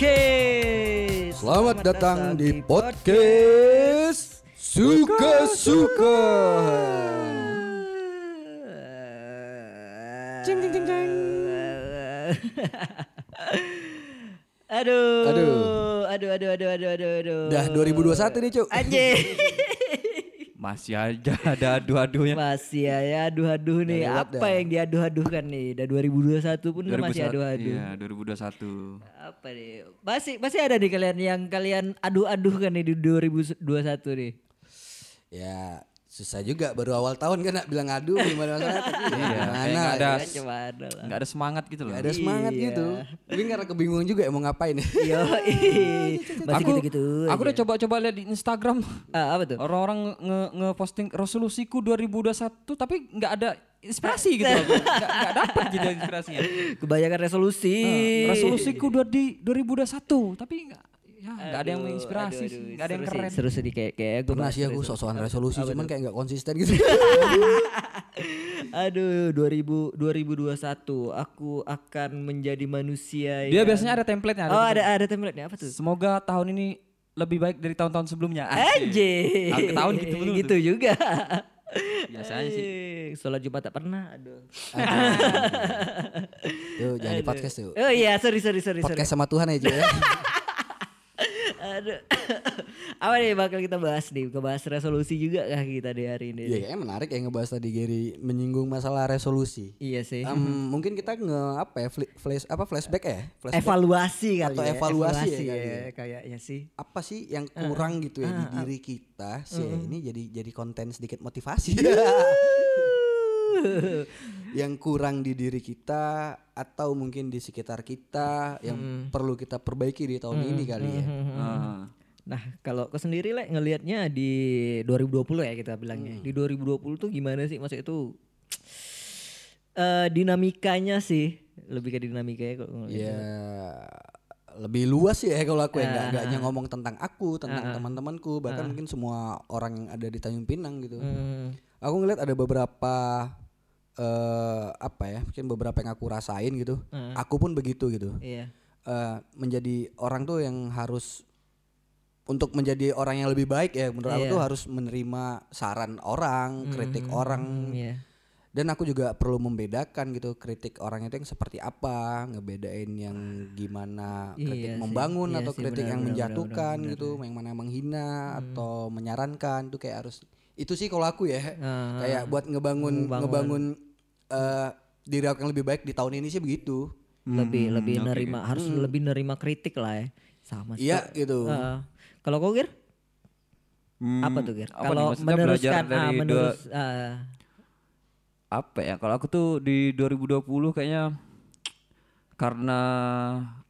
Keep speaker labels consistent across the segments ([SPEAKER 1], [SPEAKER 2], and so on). [SPEAKER 1] Podcast.
[SPEAKER 2] Selamat datang di podcast suka suka.
[SPEAKER 1] Cing cing cing cing. aduh.
[SPEAKER 2] Aduh.
[SPEAKER 1] Aduh aduh aduh aduh aduh aduh.
[SPEAKER 2] Dah 2021 nih cuk.
[SPEAKER 1] Anjir.
[SPEAKER 3] Masih aja ada adu-adunya.
[SPEAKER 1] masih ya aduh-aduh nih.
[SPEAKER 2] lewat
[SPEAKER 1] Apa
[SPEAKER 2] dah.
[SPEAKER 1] yang diaduh-aduhkan nih? Dah 2021 pun lu masih
[SPEAKER 3] 2001
[SPEAKER 1] aduh-aduh.
[SPEAKER 3] Iya, 2021.
[SPEAKER 1] Apa nih? Masih masih ada nih kalian yang kalian aduh-aduhkan nih di 2021 nih.
[SPEAKER 2] Ya susah juga baru awal tahun kan nak bilang aduh gimana masalah tapi ya
[SPEAKER 3] Iya, kayak
[SPEAKER 2] gimana.
[SPEAKER 3] nggak ada
[SPEAKER 1] Ya, cuma ada lah.
[SPEAKER 3] nggak ada semangat gitu loh.
[SPEAKER 2] Gak ada semangat
[SPEAKER 1] Iya.
[SPEAKER 2] gitu. Tapi karena kebingungan juga ya mau ngapain.
[SPEAKER 1] Yo, masih
[SPEAKER 3] aku
[SPEAKER 1] gitu-gitu.
[SPEAKER 3] aku udah coba-coba lihat di Instagram
[SPEAKER 1] Ah, apa tuh?
[SPEAKER 3] orang-orang nge- ngeposting resolusiku 2021 tapi nggak ada inspirasi gitu loh. Nggak nggak dapet gitu inspirasinya.
[SPEAKER 1] Iya, Ah, Kebanyakan resolusi.
[SPEAKER 3] Ah, Resolusiku
[SPEAKER 1] iya.
[SPEAKER 3] dua di 2021 tapi nggak ya nggak ada yang menginspirasi, sih, nggak ada yang
[SPEAKER 1] Seru sih,
[SPEAKER 3] keren.
[SPEAKER 1] Seru sedih kayak kayak gue
[SPEAKER 2] Pernah Nah, sih aku sok-sokan resolusi cuman kayak nggak konsisten gitu.
[SPEAKER 1] Aduh, 2000 2021 aku akan menjadi manusia
[SPEAKER 3] Dia
[SPEAKER 1] yang-
[SPEAKER 3] biasanya ada template-nya.
[SPEAKER 1] Oh, ada ada template-nya apa tuh?
[SPEAKER 3] Semoga tahun ini lebih baik dari tahun-tahun sebelumnya.
[SPEAKER 1] Eh, Anjir.
[SPEAKER 3] Akhir tahun gitu dulu.
[SPEAKER 1] Gitu juga.
[SPEAKER 3] Biasanya sih.
[SPEAKER 1] Eh, Sholat Jumat tak pernah, aduh.
[SPEAKER 2] Tuh jangan di podcast tuh.
[SPEAKER 1] Oh iya, sorry sorry sorry sorry.
[SPEAKER 2] Podcast sama Tuhan aja ya.
[SPEAKER 1] Aduh. Apa nih bakal kita bahas nih? Bahas resolusi juga kah kita di hari ini?
[SPEAKER 2] Iya kayaknya menarik ya ngebahas tadi Gary menyinggung masalah resolusi.
[SPEAKER 1] Iya sih.
[SPEAKER 2] Em, mungkin kita nge apa ya fli- flash apa flashback ya? Flashback.
[SPEAKER 1] evaluasi kali
[SPEAKER 2] Atau
[SPEAKER 1] ya.
[SPEAKER 2] evaluasi ya
[SPEAKER 1] ya,
[SPEAKER 2] kali
[SPEAKER 1] kayaknya sih.
[SPEAKER 2] apa sih yang kurang gitu ya di diri kita sih ini jadi jadi konten sedikit motivasi yang kurang di diri kita atau mungkin di sekitar kita yang perlu kita perbaiki di tahun ini kali ya
[SPEAKER 3] Ah.
[SPEAKER 1] Nah, kalau kau sendiri lah ngelihatnya di 2020 ya kita bilangnya.
[SPEAKER 2] Hmm.
[SPEAKER 1] Di 2020 tuh gimana sih maksudnya itu eh dinamikanya sih lebih ke dinamikanya kalau ngelihat.
[SPEAKER 2] ya lebih luas sih ya kalau aku ya nggak nggak hanya ngomong tentang aku tentang teman-temanku bahkan mungkin semua orang yang ada di Tanjung Pinang gitu
[SPEAKER 1] Hmm,
[SPEAKER 2] aku ngeliat ada beberapa eh apa ya mungkin beberapa yang aku rasain gitu
[SPEAKER 1] Mm.
[SPEAKER 2] aku pun begitu
[SPEAKER 1] Ah,
[SPEAKER 2] gitu
[SPEAKER 1] iya.
[SPEAKER 2] eh, menjadi orang tuh yang harus untuk menjadi orang yang lebih baik ya menurut aku
[SPEAKER 1] Iya.
[SPEAKER 2] tuh harus menerima saran orang, kritik
[SPEAKER 1] Hmm,
[SPEAKER 2] orang
[SPEAKER 1] iya.
[SPEAKER 2] dan aku juga perlu membedakan gitu kritik orang itu yang seperti apa, ngebedain yang gimana
[SPEAKER 1] Iya sih,
[SPEAKER 2] kritik membangun
[SPEAKER 1] iya
[SPEAKER 2] atau
[SPEAKER 1] sih,
[SPEAKER 2] kritik
[SPEAKER 1] benar,
[SPEAKER 2] yang
[SPEAKER 1] benar, benar,
[SPEAKER 2] menjatuhkan
[SPEAKER 1] benar, Hmm.
[SPEAKER 2] gitu, yang mana menghina atau menyarankan tuh kayak harus itu sih kalau aku ya
[SPEAKER 1] Ah,
[SPEAKER 2] kayak buat ngebangun ngebangun eh, diri aku yang lebih baik di tahun ini sih begitu.
[SPEAKER 1] lebih
[SPEAKER 3] Hmm,
[SPEAKER 1] lebih nerima harus lebih nerima kritik lah ya. Sama sih.
[SPEAKER 2] Iya gitu.
[SPEAKER 1] Heeh. kalau kau Gir? Apa tuh Gir?
[SPEAKER 3] Hmm, apa nih,
[SPEAKER 1] Kalau
[SPEAKER 3] maksudnya belajar
[SPEAKER 1] meneruskan ah,
[SPEAKER 3] dari dua-
[SPEAKER 1] menerus ah.
[SPEAKER 3] apa ya kalau aku tuh di 2020 kayaknya karena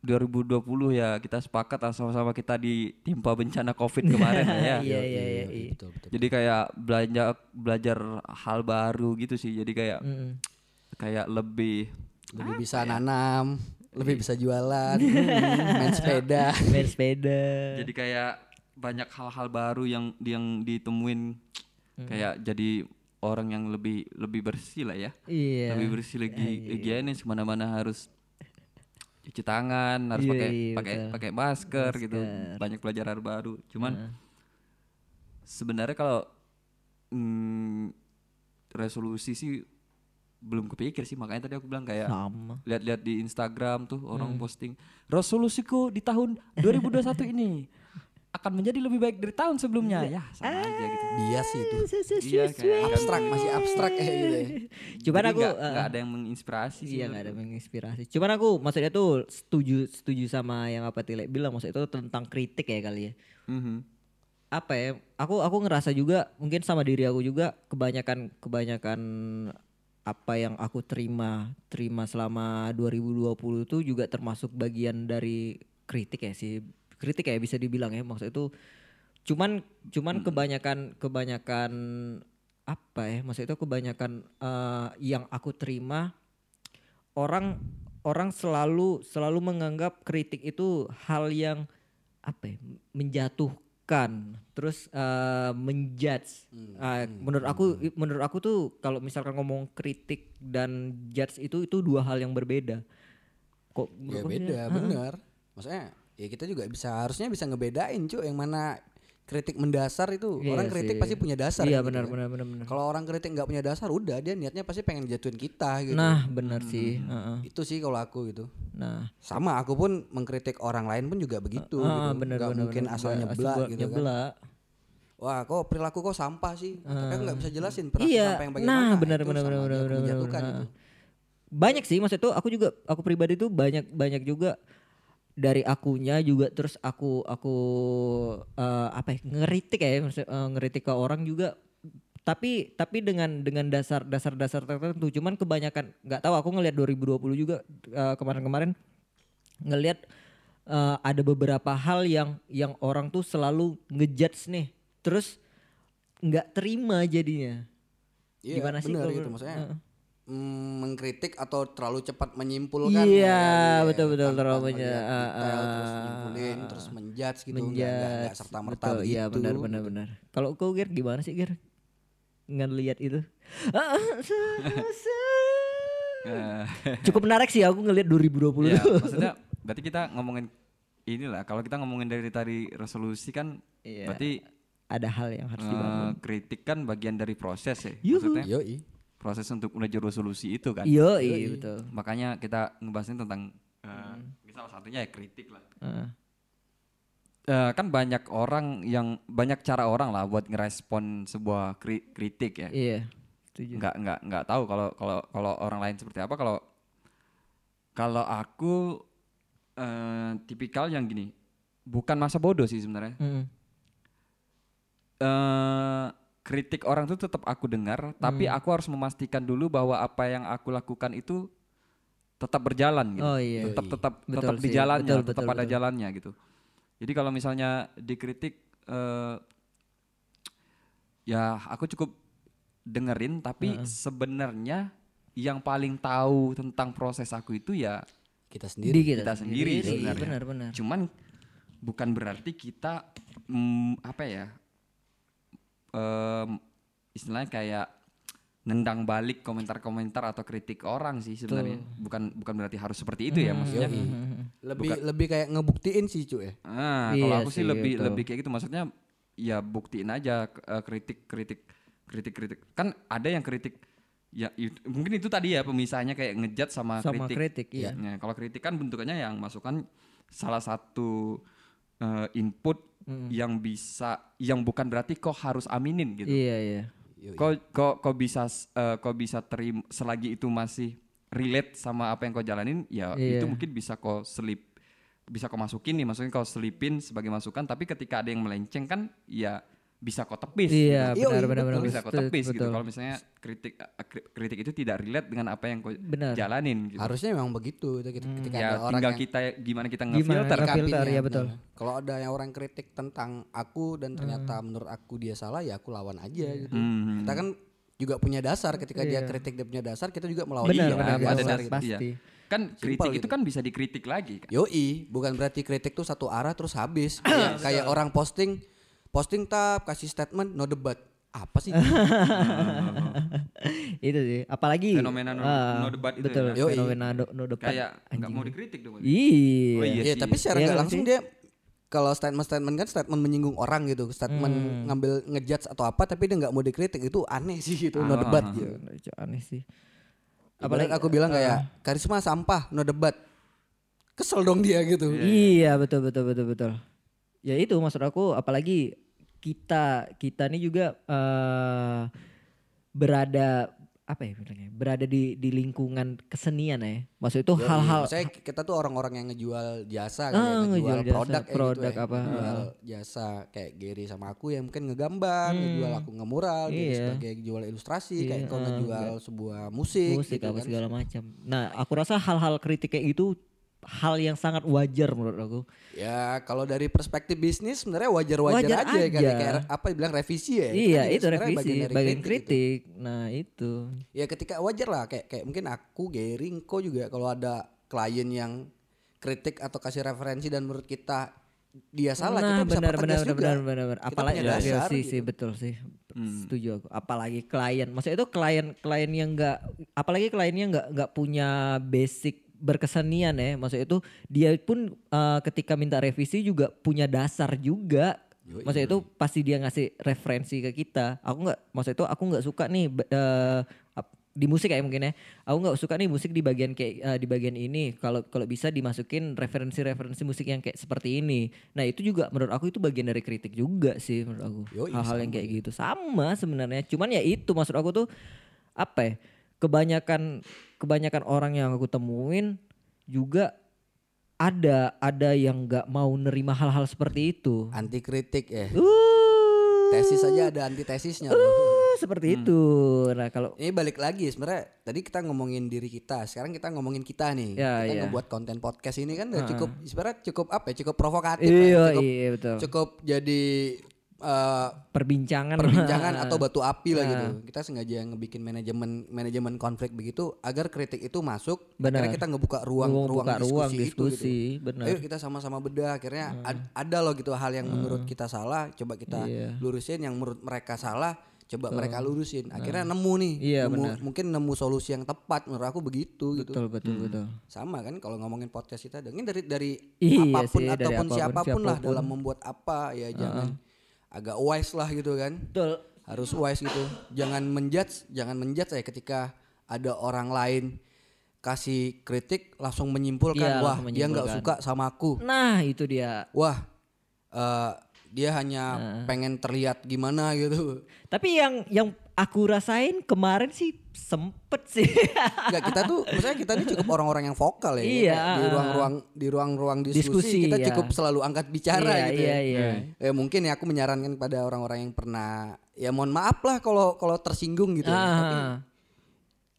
[SPEAKER 3] 2020 ya kita sepakat lah sama-sama kita ditimpa bencana covid kemarin lah ya
[SPEAKER 1] iya iya iya. iya.
[SPEAKER 2] Betul, betul.
[SPEAKER 3] jadi kayak belajar belajar hal baru gitu sih jadi kayak
[SPEAKER 1] Mm-mm.
[SPEAKER 3] kayak lebih
[SPEAKER 2] lebih bisa
[SPEAKER 1] ya?
[SPEAKER 2] nanam,
[SPEAKER 1] Iya.
[SPEAKER 2] lebih bisa jualan, hmm, main sepeda.
[SPEAKER 1] Main sepeda.
[SPEAKER 3] jadi kayak banyak hal-hal baru yang yang ditemuin
[SPEAKER 1] Hmm.
[SPEAKER 3] kayak jadi orang yang lebih lebih bersih lah ya
[SPEAKER 1] Iya.
[SPEAKER 3] lebih bersih lagi higienis kemana-mana harus cuci tangan harus
[SPEAKER 1] Iya,
[SPEAKER 3] pakai
[SPEAKER 1] iya,
[SPEAKER 3] pakai pakai masker, gitu banyak pelajaran baru cuman sebenarnya kalau mm, resolusi sih belum kepikir sih makanya tadi aku bilang kayak
[SPEAKER 1] Sama.
[SPEAKER 3] lihat-lihat di Instagram tuh orang
[SPEAKER 1] Hmm.
[SPEAKER 3] posting resolusiku di tahun 2021 ini akan menjadi lebih baik dari tahun sebelumnya
[SPEAKER 1] Iya.
[SPEAKER 3] ya sama aja gitu
[SPEAKER 1] Ah,
[SPEAKER 2] Bias sih itu.
[SPEAKER 3] iya kayak
[SPEAKER 2] Abstrak, masih abstrak ya gitu ya.
[SPEAKER 1] Cuman
[SPEAKER 3] jadi
[SPEAKER 1] aku
[SPEAKER 3] nggak-
[SPEAKER 1] eh,
[SPEAKER 3] nggak ada yang menginspirasi sih
[SPEAKER 1] iya nggak ada menginspirasi. Cuman aku maksudnya tuh setuju setuju sama yang apa Tile bilang maksudnya itu tentang kritik ya kali ya.
[SPEAKER 3] Mhm.
[SPEAKER 1] Apa ya? Aku aku ngerasa juga mungkin sama diri aku juga kebanyakan kebanyakan apa yang aku terima terima selama 2020 itu juga termasuk bagian dari kritik ya sih. Kritik ya bisa dibilang ya maksudnya itu cuman cuman kebanyakan kebanyakan apa ya maksudnya itu kebanyakan eh, yang aku terima orang orang selalu selalu menganggap kritik itu hal yang apa ya, menjatuhkan terus eh, menjudge
[SPEAKER 2] Hmm.
[SPEAKER 1] Eh, menurut aku menurut aku tuh kalau misalkan ngomong kritik dan judge itu itu dua hal yang berbeda kok
[SPEAKER 2] Ya
[SPEAKER 1] menurut aku sih-
[SPEAKER 2] beda, bener. Maksudnya ya kita juga bisa harusnya bisa ngebedain cuy yang mana kritik mendasar itu
[SPEAKER 1] Iya
[SPEAKER 2] orang
[SPEAKER 1] sih.
[SPEAKER 2] kritik pasti punya dasar
[SPEAKER 1] Iya
[SPEAKER 2] gitu
[SPEAKER 1] benar
[SPEAKER 2] kan.
[SPEAKER 1] benar benar benar.
[SPEAKER 2] kalau orang kritik nggak punya dasar udah dia niatnya pasti pengen jatuhin kita gitu hmm.
[SPEAKER 1] Nah benar sih. Heeh.
[SPEAKER 2] itu sih kalau aku gitu
[SPEAKER 1] Nah
[SPEAKER 2] sama aku pun mengkritik orang lain pun juga begitu
[SPEAKER 1] ah,
[SPEAKER 2] gitu
[SPEAKER 1] benar
[SPEAKER 2] Nggak
[SPEAKER 1] benar.
[SPEAKER 2] mungkin
[SPEAKER 1] benar.
[SPEAKER 2] asal
[SPEAKER 1] Nggak-
[SPEAKER 2] nyeblak
[SPEAKER 1] asal
[SPEAKER 2] gitu kan
[SPEAKER 1] nyeblak.
[SPEAKER 2] wah kok perilaku kok sampah sih tapi aku nggak bisa jelasin perilaku
[SPEAKER 1] Iya.
[SPEAKER 2] sampah yang bagaimana
[SPEAKER 1] Nah benar
[SPEAKER 2] Itu
[SPEAKER 1] benar
[SPEAKER 2] sama
[SPEAKER 1] benar
[SPEAKER 2] aja
[SPEAKER 1] benar
[SPEAKER 2] aku
[SPEAKER 1] benar.
[SPEAKER 2] menjatuhkan
[SPEAKER 1] benar.
[SPEAKER 2] itu.
[SPEAKER 1] Banyak sih maksud tuh aku juga aku pribadi tuh banyak banyak juga dari akunya juga terus aku aku eh, apa ya ngeritik ya maksud eh, ngeritik ke orang juga tapi tapi dengan dengan dasar dasar dasar tertentu cuman kebanyakan nggak tahu aku ngelihat 2020 juga eh, kemarin-kemarin ngelihat eh, ada beberapa hal yang yang orang tuh selalu ngejudge nih terus nggak terima jadinya
[SPEAKER 2] Iya,
[SPEAKER 1] Gimana sih
[SPEAKER 2] benar
[SPEAKER 1] kalau-
[SPEAKER 2] gitu maksudnya
[SPEAKER 1] Heeh.
[SPEAKER 2] mm, mengkritik atau terlalu cepat menyimpulkan
[SPEAKER 1] Iya,
[SPEAKER 2] ya,
[SPEAKER 1] betul-betul
[SPEAKER 2] tanpa
[SPEAKER 1] terlalu
[SPEAKER 2] melihat
[SPEAKER 1] menja-
[SPEAKER 2] detail,
[SPEAKER 1] ah,
[SPEAKER 2] terus
[SPEAKER 1] ah,
[SPEAKER 2] nyimpulin terus menjudge gitu
[SPEAKER 1] menjudge
[SPEAKER 2] enggak enggak, enggak serta merta
[SPEAKER 1] Betul,
[SPEAKER 2] begitu
[SPEAKER 1] iya benar
[SPEAKER 3] Gitu.
[SPEAKER 1] benar benar kalau kau Gir gimana sih Gir ngelihat itu
[SPEAKER 3] Eh,
[SPEAKER 1] cukup menarik sih aku ngelihat 2020
[SPEAKER 3] Iya,
[SPEAKER 1] tuh
[SPEAKER 3] maksudnya berarti kita ngomongin inilah kalau kita ngomongin dari tadi resolusi kan
[SPEAKER 1] Iya.
[SPEAKER 3] berarti
[SPEAKER 1] ada hal yang harus
[SPEAKER 3] eh,
[SPEAKER 1] dibangun
[SPEAKER 3] kritik kan bagian dari proses ya.
[SPEAKER 1] Yuhu.
[SPEAKER 3] Maksudnya
[SPEAKER 2] Yoi.
[SPEAKER 3] proses untuk menuju resolusi itu kan.
[SPEAKER 1] iya iya betul
[SPEAKER 3] Makanya kita ngebahasin tentang eh,
[SPEAKER 1] Hmm.
[SPEAKER 3] mungkin salah satunya ya kritik lah.
[SPEAKER 1] Heeh.
[SPEAKER 3] Eh, kan banyak orang yang banyak cara orang lah buat ngerespon sebuah kri- kritik ya.
[SPEAKER 1] iya setuju
[SPEAKER 3] nggak nggak nggak tahu kalau kalau kalau orang lain seperti apa kalau kalau aku eh, tipikal yang gini bukan masa bodoh sih sebenarnya
[SPEAKER 1] Mm.
[SPEAKER 3] eh kritik orang tuh tetap aku dengar tapi aku harus memastikan dulu bahwa apa yang aku lakukan itu tetap berjalan gitu
[SPEAKER 1] Oh, iya.
[SPEAKER 3] tetap tetap
[SPEAKER 1] Betul
[SPEAKER 3] tetap di
[SPEAKER 1] sih,
[SPEAKER 3] jalannya
[SPEAKER 1] betul,
[SPEAKER 3] tetap
[SPEAKER 1] betul,
[SPEAKER 3] ada
[SPEAKER 1] betul.
[SPEAKER 3] jalannya gitu jadi kalau misalnya dikritik eh ya aku cukup dengerin tapi sebenarnya yang paling tahu tentang proses aku itu ya
[SPEAKER 2] kita sendiri
[SPEAKER 1] Di kita,
[SPEAKER 3] kita sendiri sebenarnya.
[SPEAKER 1] benar benar
[SPEAKER 3] Cuman bukan berarti kita mm, apa ya? em, istilahnya kayak nendang balik komentar-komentar atau kritik orang sih sebenarnya. Bukan bukan berarti harus seperti itu ya maksudnya.
[SPEAKER 1] Hmm,
[SPEAKER 2] lebih lebih kayak ngebuktiin sih cuy ya
[SPEAKER 3] Ah,
[SPEAKER 1] Iya
[SPEAKER 3] kalau aku sih
[SPEAKER 1] sih,
[SPEAKER 3] lebih
[SPEAKER 1] betul.
[SPEAKER 3] lebih kayak gitu maksudnya ya buktiin aja k- eh, kritik kritik kritik kritik. Kan ada yang kritik ya it- mungkin itu tadi ya pemisahnya kayak ngejat sama,
[SPEAKER 1] sama
[SPEAKER 3] kritik.
[SPEAKER 1] kritik, iya
[SPEAKER 3] Nah, kalau kritik kan bentukannya yang masukan salah satu eh, input yang bisa yang bukan berarti kok harus aminin gitu.
[SPEAKER 1] iya iya
[SPEAKER 3] Kok kok kok bisa s- eh, kok bisa terima selagi itu masih relate sama apa yang kau jalanin ya
[SPEAKER 1] Iya.
[SPEAKER 3] itu mungkin bisa kau selip bisa kau masukin nih maksudnya kau selipin sebagai masukan tapi ketika ada yang melenceng kan ya bisa kau tepis.
[SPEAKER 1] iya
[SPEAKER 2] Iya,
[SPEAKER 1] benar
[SPEAKER 2] iya,
[SPEAKER 1] benar benar
[SPEAKER 3] Kau bisa kau
[SPEAKER 1] betul,
[SPEAKER 3] tepis gitu.
[SPEAKER 1] betul.
[SPEAKER 3] Kalau misalnya kritik eh, kri- kritik itu tidak relate dengan apa yang kau
[SPEAKER 1] Benar.
[SPEAKER 3] jalanin gitu
[SPEAKER 2] harusnya memang begitu gitu, ketika
[SPEAKER 3] ya
[SPEAKER 2] ada orang
[SPEAKER 3] tinggal
[SPEAKER 2] yang
[SPEAKER 3] kita gimana kita
[SPEAKER 1] Gimana
[SPEAKER 3] ngefilter
[SPEAKER 1] ngefilter,
[SPEAKER 2] nyikapinnya,
[SPEAKER 1] ya, betul. Hmm.
[SPEAKER 2] benar. Kalau ada yang orang kritik tentang aku dan ternyata menurut aku dia salah ya aku lawan aja gitu.
[SPEAKER 3] Hmm.
[SPEAKER 2] Kita kan juga punya dasar ketika dia
[SPEAKER 1] Iya.
[SPEAKER 2] kritik dia punya dasar kita juga melawan
[SPEAKER 1] benar benar
[SPEAKER 2] dia punya
[SPEAKER 3] ada
[SPEAKER 1] benar,
[SPEAKER 2] dasar
[SPEAKER 3] dasar,
[SPEAKER 2] gitu.
[SPEAKER 3] iya.
[SPEAKER 1] pasti
[SPEAKER 3] kan kritik
[SPEAKER 2] Simpel
[SPEAKER 3] itu kan bisa dikritik lagi kan
[SPEAKER 2] Yoi, bukan berarti kritik tuh satu arah terus habis. kayak, kayak orang posting posting tab kasih statement no debat. Apa sih?
[SPEAKER 1] itu sih apalagi
[SPEAKER 3] Fenomena no-
[SPEAKER 1] ah,
[SPEAKER 3] no debat itu
[SPEAKER 1] betul
[SPEAKER 3] ya.
[SPEAKER 2] Yoi.
[SPEAKER 1] fenomena no, no debat
[SPEAKER 3] kayak nggak mau dikritik dong
[SPEAKER 1] iya
[SPEAKER 3] Oh, iya
[SPEAKER 2] Iya,
[SPEAKER 3] sih.
[SPEAKER 2] tapi secara
[SPEAKER 1] Iya
[SPEAKER 2] nggak
[SPEAKER 1] kan
[SPEAKER 2] langsung
[SPEAKER 1] sih?
[SPEAKER 2] dia kalau statement-statement kan statement menyinggung orang gitu, statement
[SPEAKER 1] Hmm.
[SPEAKER 2] ngambil ngejudge atau apa tapi dia nggak mau dikritik itu aneh sih gitu,
[SPEAKER 3] Ah.
[SPEAKER 2] no debat gitu.
[SPEAKER 1] Itu aneh sih
[SPEAKER 2] Apalagi aku bilang
[SPEAKER 1] Ah.
[SPEAKER 2] kayak karisma sampah, no debat. Kesel dong dia gitu.
[SPEAKER 1] Iya betul betul betul betul. Ya itu maksud aku apalagi kita kita nih juga eh berada apa ya bilangnya berada di di lingkungan kesenian ya. Maksud itu
[SPEAKER 2] Yoi,
[SPEAKER 1] hal-hal
[SPEAKER 2] maksudnya kita tuh orang-orang yang ngejual jasa
[SPEAKER 1] Ah,
[SPEAKER 2] kan,
[SPEAKER 1] ngejual
[SPEAKER 2] ngejual,
[SPEAKER 1] jasa,
[SPEAKER 2] produk, kayak
[SPEAKER 1] produk
[SPEAKER 2] gitu, ya.
[SPEAKER 1] apa, ah.
[SPEAKER 2] Ngejual jasa kayak Gary sama aku yang mungkin ngegambar, ngejual aku ngemural, Gary
[SPEAKER 1] Hmm. Iya. ah,
[SPEAKER 2] sebagai jual ilustrasi, kayak kau ngejual sebuah musik,
[SPEAKER 1] musik
[SPEAKER 2] gitu
[SPEAKER 1] apa
[SPEAKER 2] kan.
[SPEAKER 1] segala macam. Nah, aku rasa hal-hal kritik kayak itu hal yang sangat wajar menurut aku.
[SPEAKER 2] Ya, kalau dari perspektif bisnis sebenarnya wajar-wajar
[SPEAKER 1] Wajar
[SPEAKER 2] aja, ya kan ya.
[SPEAKER 1] aja.
[SPEAKER 2] kayak re- apa bilang revisi ya. kan
[SPEAKER 1] iya,
[SPEAKER 2] juga
[SPEAKER 1] itu
[SPEAKER 2] sebenarnya
[SPEAKER 1] revisi,
[SPEAKER 2] dari
[SPEAKER 1] bagian
[SPEAKER 2] kritik gitu.
[SPEAKER 1] kritik. Nah, itu.
[SPEAKER 2] Ya ketika wajar lah kayak kayak mungkin aku Gary kau juga kalau ada klien yang kritik atau kasih referensi dan menurut kita dia salah
[SPEAKER 1] nah,
[SPEAKER 2] kita bisa
[SPEAKER 1] benar,
[SPEAKER 2] protes
[SPEAKER 1] benar,
[SPEAKER 2] juga.
[SPEAKER 1] benar, benar, benar.
[SPEAKER 2] Kita
[SPEAKER 1] Apalagi
[SPEAKER 2] punya
[SPEAKER 1] iya
[SPEAKER 2] dasar
[SPEAKER 1] sih,
[SPEAKER 2] gitu. Hmm.
[SPEAKER 1] sih, betul sih. Setuju aku. Apalagi klien. Maksudnya itu klien klien yang enggak apalagi kliennya enggak enggak punya basic berkesenian ya maksudnya itu dia pun eh, ketika minta revisi juga punya dasar juga maksudnya itu pasti dia ngasih referensi ke kita aku nggak maksudnya itu aku nggak suka nih be- eh, ap- di musik ya mungkin ya aku nggak suka nih musik di bagian kayak eh, di bagian ini kalau kalau bisa dimasukin referensi-referensi musik yang kayak seperti ini nah itu juga menurut aku itu bagian dari kritik juga sih menurut aku
[SPEAKER 2] Yoi, ya.
[SPEAKER 1] hal-hal yang kayak gitu sama sebenarnya cuman ya itu maksud aku tuh apa ya kebanyakan kebanyakan orang yang aku temuin juga ada ada yang nggak mau nerima hal-hal seperti itu
[SPEAKER 2] anti kritik ya
[SPEAKER 1] Uh,
[SPEAKER 2] tesis aja Hmm. ada antitesisnya loh.
[SPEAKER 1] seperti itu. Nah kalau
[SPEAKER 2] Ini balik lagi sebenarnya tadi kita ngomongin diri kita, sekarang kita ngomongin kita nih.
[SPEAKER 1] Ya,
[SPEAKER 2] kita
[SPEAKER 1] ya.
[SPEAKER 2] ngebuat konten podcast ini kan udah cukup sebenarnya cukup apa ya? Cukup provokatif,
[SPEAKER 1] Iya,
[SPEAKER 2] ya, cukup
[SPEAKER 1] iya, betul.
[SPEAKER 2] cukup jadi eh,
[SPEAKER 1] perbincangan,
[SPEAKER 2] perbincangan atau batu api lah
[SPEAKER 1] Nah.
[SPEAKER 2] gitu. Kita sengaja ngebikin manajemen manajemen konflik begitu agar kritik itu masuk.
[SPEAKER 1] Benar.
[SPEAKER 2] Akhirnya kita ngebuka ruang
[SPEAKER 1] Ruang-
[SPEAKER 2] ruang,
[SPEAKER 1] buka
[SPEAKER 2] diskusi,
[SPEAKER 1] ruang
[SPEAKER 2] itu,
[SPEAKER 1] diskusi, Nah. Hmm.
[SPEAKER 2] gitu.
[SPEAKER 1] benar.
[SPEAKER 2] Ayo kita sama-sama bedah. Akhirnya ad- ada loh gitu hal yang menurut kita salah, coba kita
[SPEAKER 1] Hmm. Iya.
[SPEAKER 2] lurusin yang menurut mereka salah, coba mereka lurusin. Akhirnya nemu nih,
[SPEAKER 1] Iya,
[SPEAKER 2] nemu-
[SPEAKER 1] benar.
[SPEAKER 2] mungkin nemu solusi yang tepat menurut aku begitu gitu.
[SPEAKER 1] betul betul betul.
[SPEAKER 2] Sama kan kalau ngomongin podcast kita mungkin dari dari
[SPEAKER 1] Iya
[SPEAKER 2] apapun
[SPEAKER 1] sih, dari
[SPEAKER 2] ataupun
[SPEAKER 1] apapun,
[SPEAKER 2] siapapun lah
[SPEAKER 1] siapapun.
[SPEAKER 2] dalam membuat apa ya jangan agak wise lah gitu kan
[SPEAKER 1] Betul.
[SPEAKER 2] harus wise gitu jangan menjudge jangan menjudge ya ketika ada orang lain kasih kritik langsung
[SPEAKER 1] Iya,
[SPEAKER 2] menyimpulkan wah
[SPEAKER 1] langsung
[SPEAKER 2] dia nggak suka
[SPEAKER 1] menyimpulkan.
[SPEAKER 2] sama aku
[SPEAKER 1] Nah itu dia.
[SPEAKER 2] wah eh, dia hanya pengen terlihat gimana gitu
[SPEAKER 1] Tapi yang yang aku rasain kemarin sih sempet sih.
[SPEAKER 2] Enggak kita tuh maksudnya kita ini cukup orang-orang yang vokal ya
[SPEAKER 1] Iya.
[SPEAKER 2] Kayak di ruang-ruang di ruang-ruang diskusi,
[SPEAKER 1] Diskusi,
[SPEAKER 2] kita
[SPEAKER 1] iya.
[SPEAKER 2] cukup selalu angkat bicara
[SPEAKER 1] Iya,
[SPEAKER 2] gitu
[SPEAKER 1] iya,
[SPEAKER 2] ya.
[SPEAKER 1] iya.
[SPEAKER 2] Eh, mungkin ya aku menyarankan pada orang-orang yang pernah ya mohon maaf lah kalau kalau tersinggung gitu ya. tapi
[SPEAKER 1] Ah.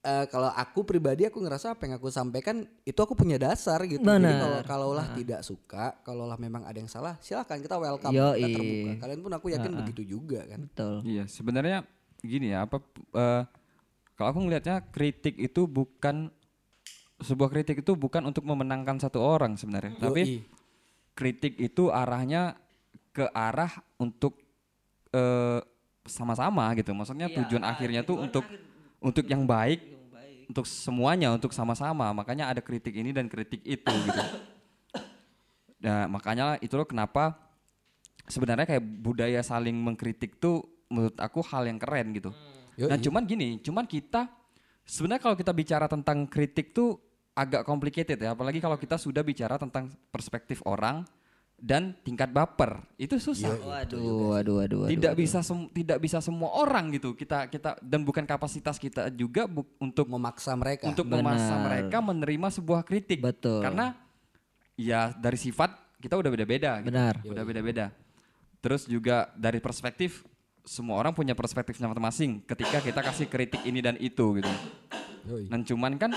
[SPEAKER 2] eh, kalau aku pribadi aku ngerasa apa yang aku sampaikan itu aku punya dasar gitu jadi
[SPEAKER 1] Benar.
[SPEAKER 2] kalau kalaulah tidak suka kalaulah memang ada yang salah silahkan kita welcome kita
[SPEAKER 1] Yoi.
[SPEAKER 2] terbuka kalian pun aku yakin begitu juga kan
[SPEAKER 1] Betul.
[SPEAKER 3] Iya, sebenarnya gini ya, apa eh, kalau aku ngelihatnya kritik itu bukan sebuah kritik itu bukan untuk memenangkan satu orang sebenarnya, tapi
[SPEAKER 2] Yoi.
[SPEAKER 3] kritik itu arahnya ke arah untuk eh, sama-sama gitu. Maksudnya tujuan akhirnya tuh untuk untuk yang baik, untuk semuanya, untuk sama-sama. Makanya ada kritik ini dan kritik itu gitu. Nah, makanya itu loh kenapa sebenarnya kayak budaya saling mengkritik tuh menurut aku hal yang keren gitu.
[SPEAKER 2] Yoi.
[SPEAKER 3] Nah, cuman gini, cuman kita sebenarnya kalau kita bicara tentang kritik tuh agak complicated ya, apalagi kalau kita sudah bicara tentang perspektif orang dan tingkat baper. Itu susah.
[SPEAKER 1] Waduh, waduh, waduh, waduh.
[SPEAKER 3] Tidak bisa sem- tidak bisa semua orang gitu. Kita kita dan bukan kapasitas kita juga bu- untuk
[SPEAKER 2] memaksa mereka
[SPEAKER 3] untuk memaksa mereka menerima sebuah kritik.
[SPEAKER 1] Betul.
[SPEAKER 3] Karena ya dari sifat kita udah beda-beda. gitu.
[SPEAKER 1] Benar.
[SPEAKER 3] Udah beda-beda. Terus juga dari perspektif semua orang punya perspektifnya masing-masing ketika kita kasih kritik ini dan itu gitu.
[SPEAKER 2] Yoi.
[SPEAKER 3] Dan cuman kan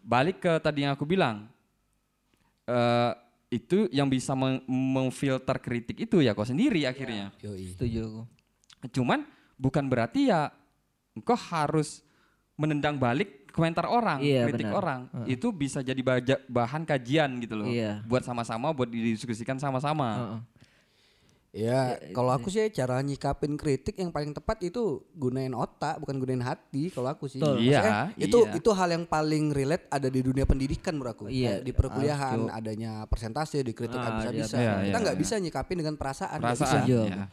[SPEAKER 3] balik ke tadi yang aku bilang. eh, itu yang bisa meng- memfilter kritik itu ya kau sendiri akhirnya.
[SPEAKER 2] Yoi.
[SPEAKER 1] Setuju aku.
[SPEAKER 3] Cuman bukan berarti ya engkau harus menendang balik komentar orang,
[SPEAKER 1] Iya,
[SPEAKER 3] kritik
[SPEAKER 1] benar.
[SPEAKER 3] orang. Itu bisa jadi baja- bahan kajian gitu loh.
[SPEAKER 1] Iya.
[SPEAKER 3] Buat sama-sama, buat didiskusikan sama-sama.
[SPEAKER 1] Heeh.
[SPEAKER 2] Ya, kalau aku sih cara nyikapin kritik yang paling tepat itu gunain otak, bukan gunain hati. Kalau aku sih,
[SPEAKER 3] Betul.
[SPEAKER 2] Maksudnya,
[SPEAKER 3] Iya,
[SPEAKER 2] itu
[SPEAKER 3] iya.
[SPEAKER 2] itu hal yang paling relate ada di dunia pendidikan menurut aku.
[SPEAKER 1] Iya,
[SPEAKER 2] Kayak di perkuliahan adanya presentasi, dikritik
[SPEAKER 1] Ah,
[SPEAKER 2] habis-habisan.
[SPEAKER 3] iya,
[SPEAKER 2] kita
[SPEAKER 3] iya,
[SPEAKER 2] nggak
[SPEAKER 3] iya.
[SPEAKER 2] bisa nyikapin dengan perasaan. nggak
[SPEAKER 3] Perasaan.
[SPEAKER 2] bisa.
[SPEAKER 1] Setuju.
[SPEAKER 3] ya.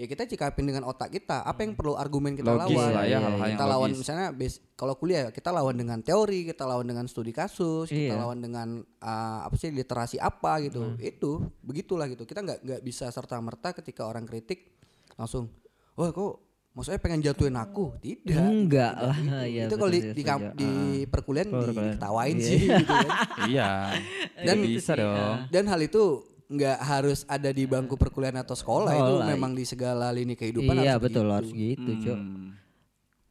[SPEAKER 2] Ya kita cikapin dengan otak kita. Apa yang perlu argumen kita
[SPEAKER 3] Logis
[SPEAKER 2] lawan? Iya,
[SPEAKER 3] lah ya, hal-hal yang
[SPEAKER 2] kita lawan
[SPEAKER 3] logis.
[SPEAKER 2] misalnya bas- kalau kuliah kita lawan dengan teori, kita lawan dengan studi kasus, kita
[SPEAKER 1] Iya. Hmm.
[SPEAKER 2] lawan dengan uh, apa sih literasi apa gitu. Itu begitulah gitu. Kita nggak nggak bisa serta merta ketika orang kritik langsung, wah kok maksudnya pengen jatuhin aku? Tidak.
[SPEAKER 1] Enggak
[SPEAKER 2] tidak
[SPEAKER 1] lah,
[SPEAKER 2] gitu.
[SPEAKER 1] Hmm. iya,
[SPEAKER 2] itu kalau di
[SPEAKER 1] betul sih,
[SPEAKER 2] di, kamp-
[SPEAKER 1] setuju. Ah.
[SPEAKER 2] di perkuliahan di-
[SPEAKER 1] Perkuliahan.
[SPEAKER 2] diketawain
[SPEAKER 1] Iya.
[SPEAKER 2] sih gitu kan.
[SPEAKER 3] iya. Dan
[SPEAKER 2] Dan-
[SPEAKER 3] bisa dong.
[SPEAKER 2] Dan hal itu nggak harus ada di bangku perkuliahan atau sekolah itu
[SPEAKER 1] Sekolah.
[SPEAKER 2] memang di segala lini kehidupan
[SPEAKER 1] Iya
[SPEAKER 2] harus
[SPEAKER 1] betul
[SPEAKER 2] begitu.
[SPEAKER 1] harus gitu, Cok.
[SPEAKER 3] Hmm.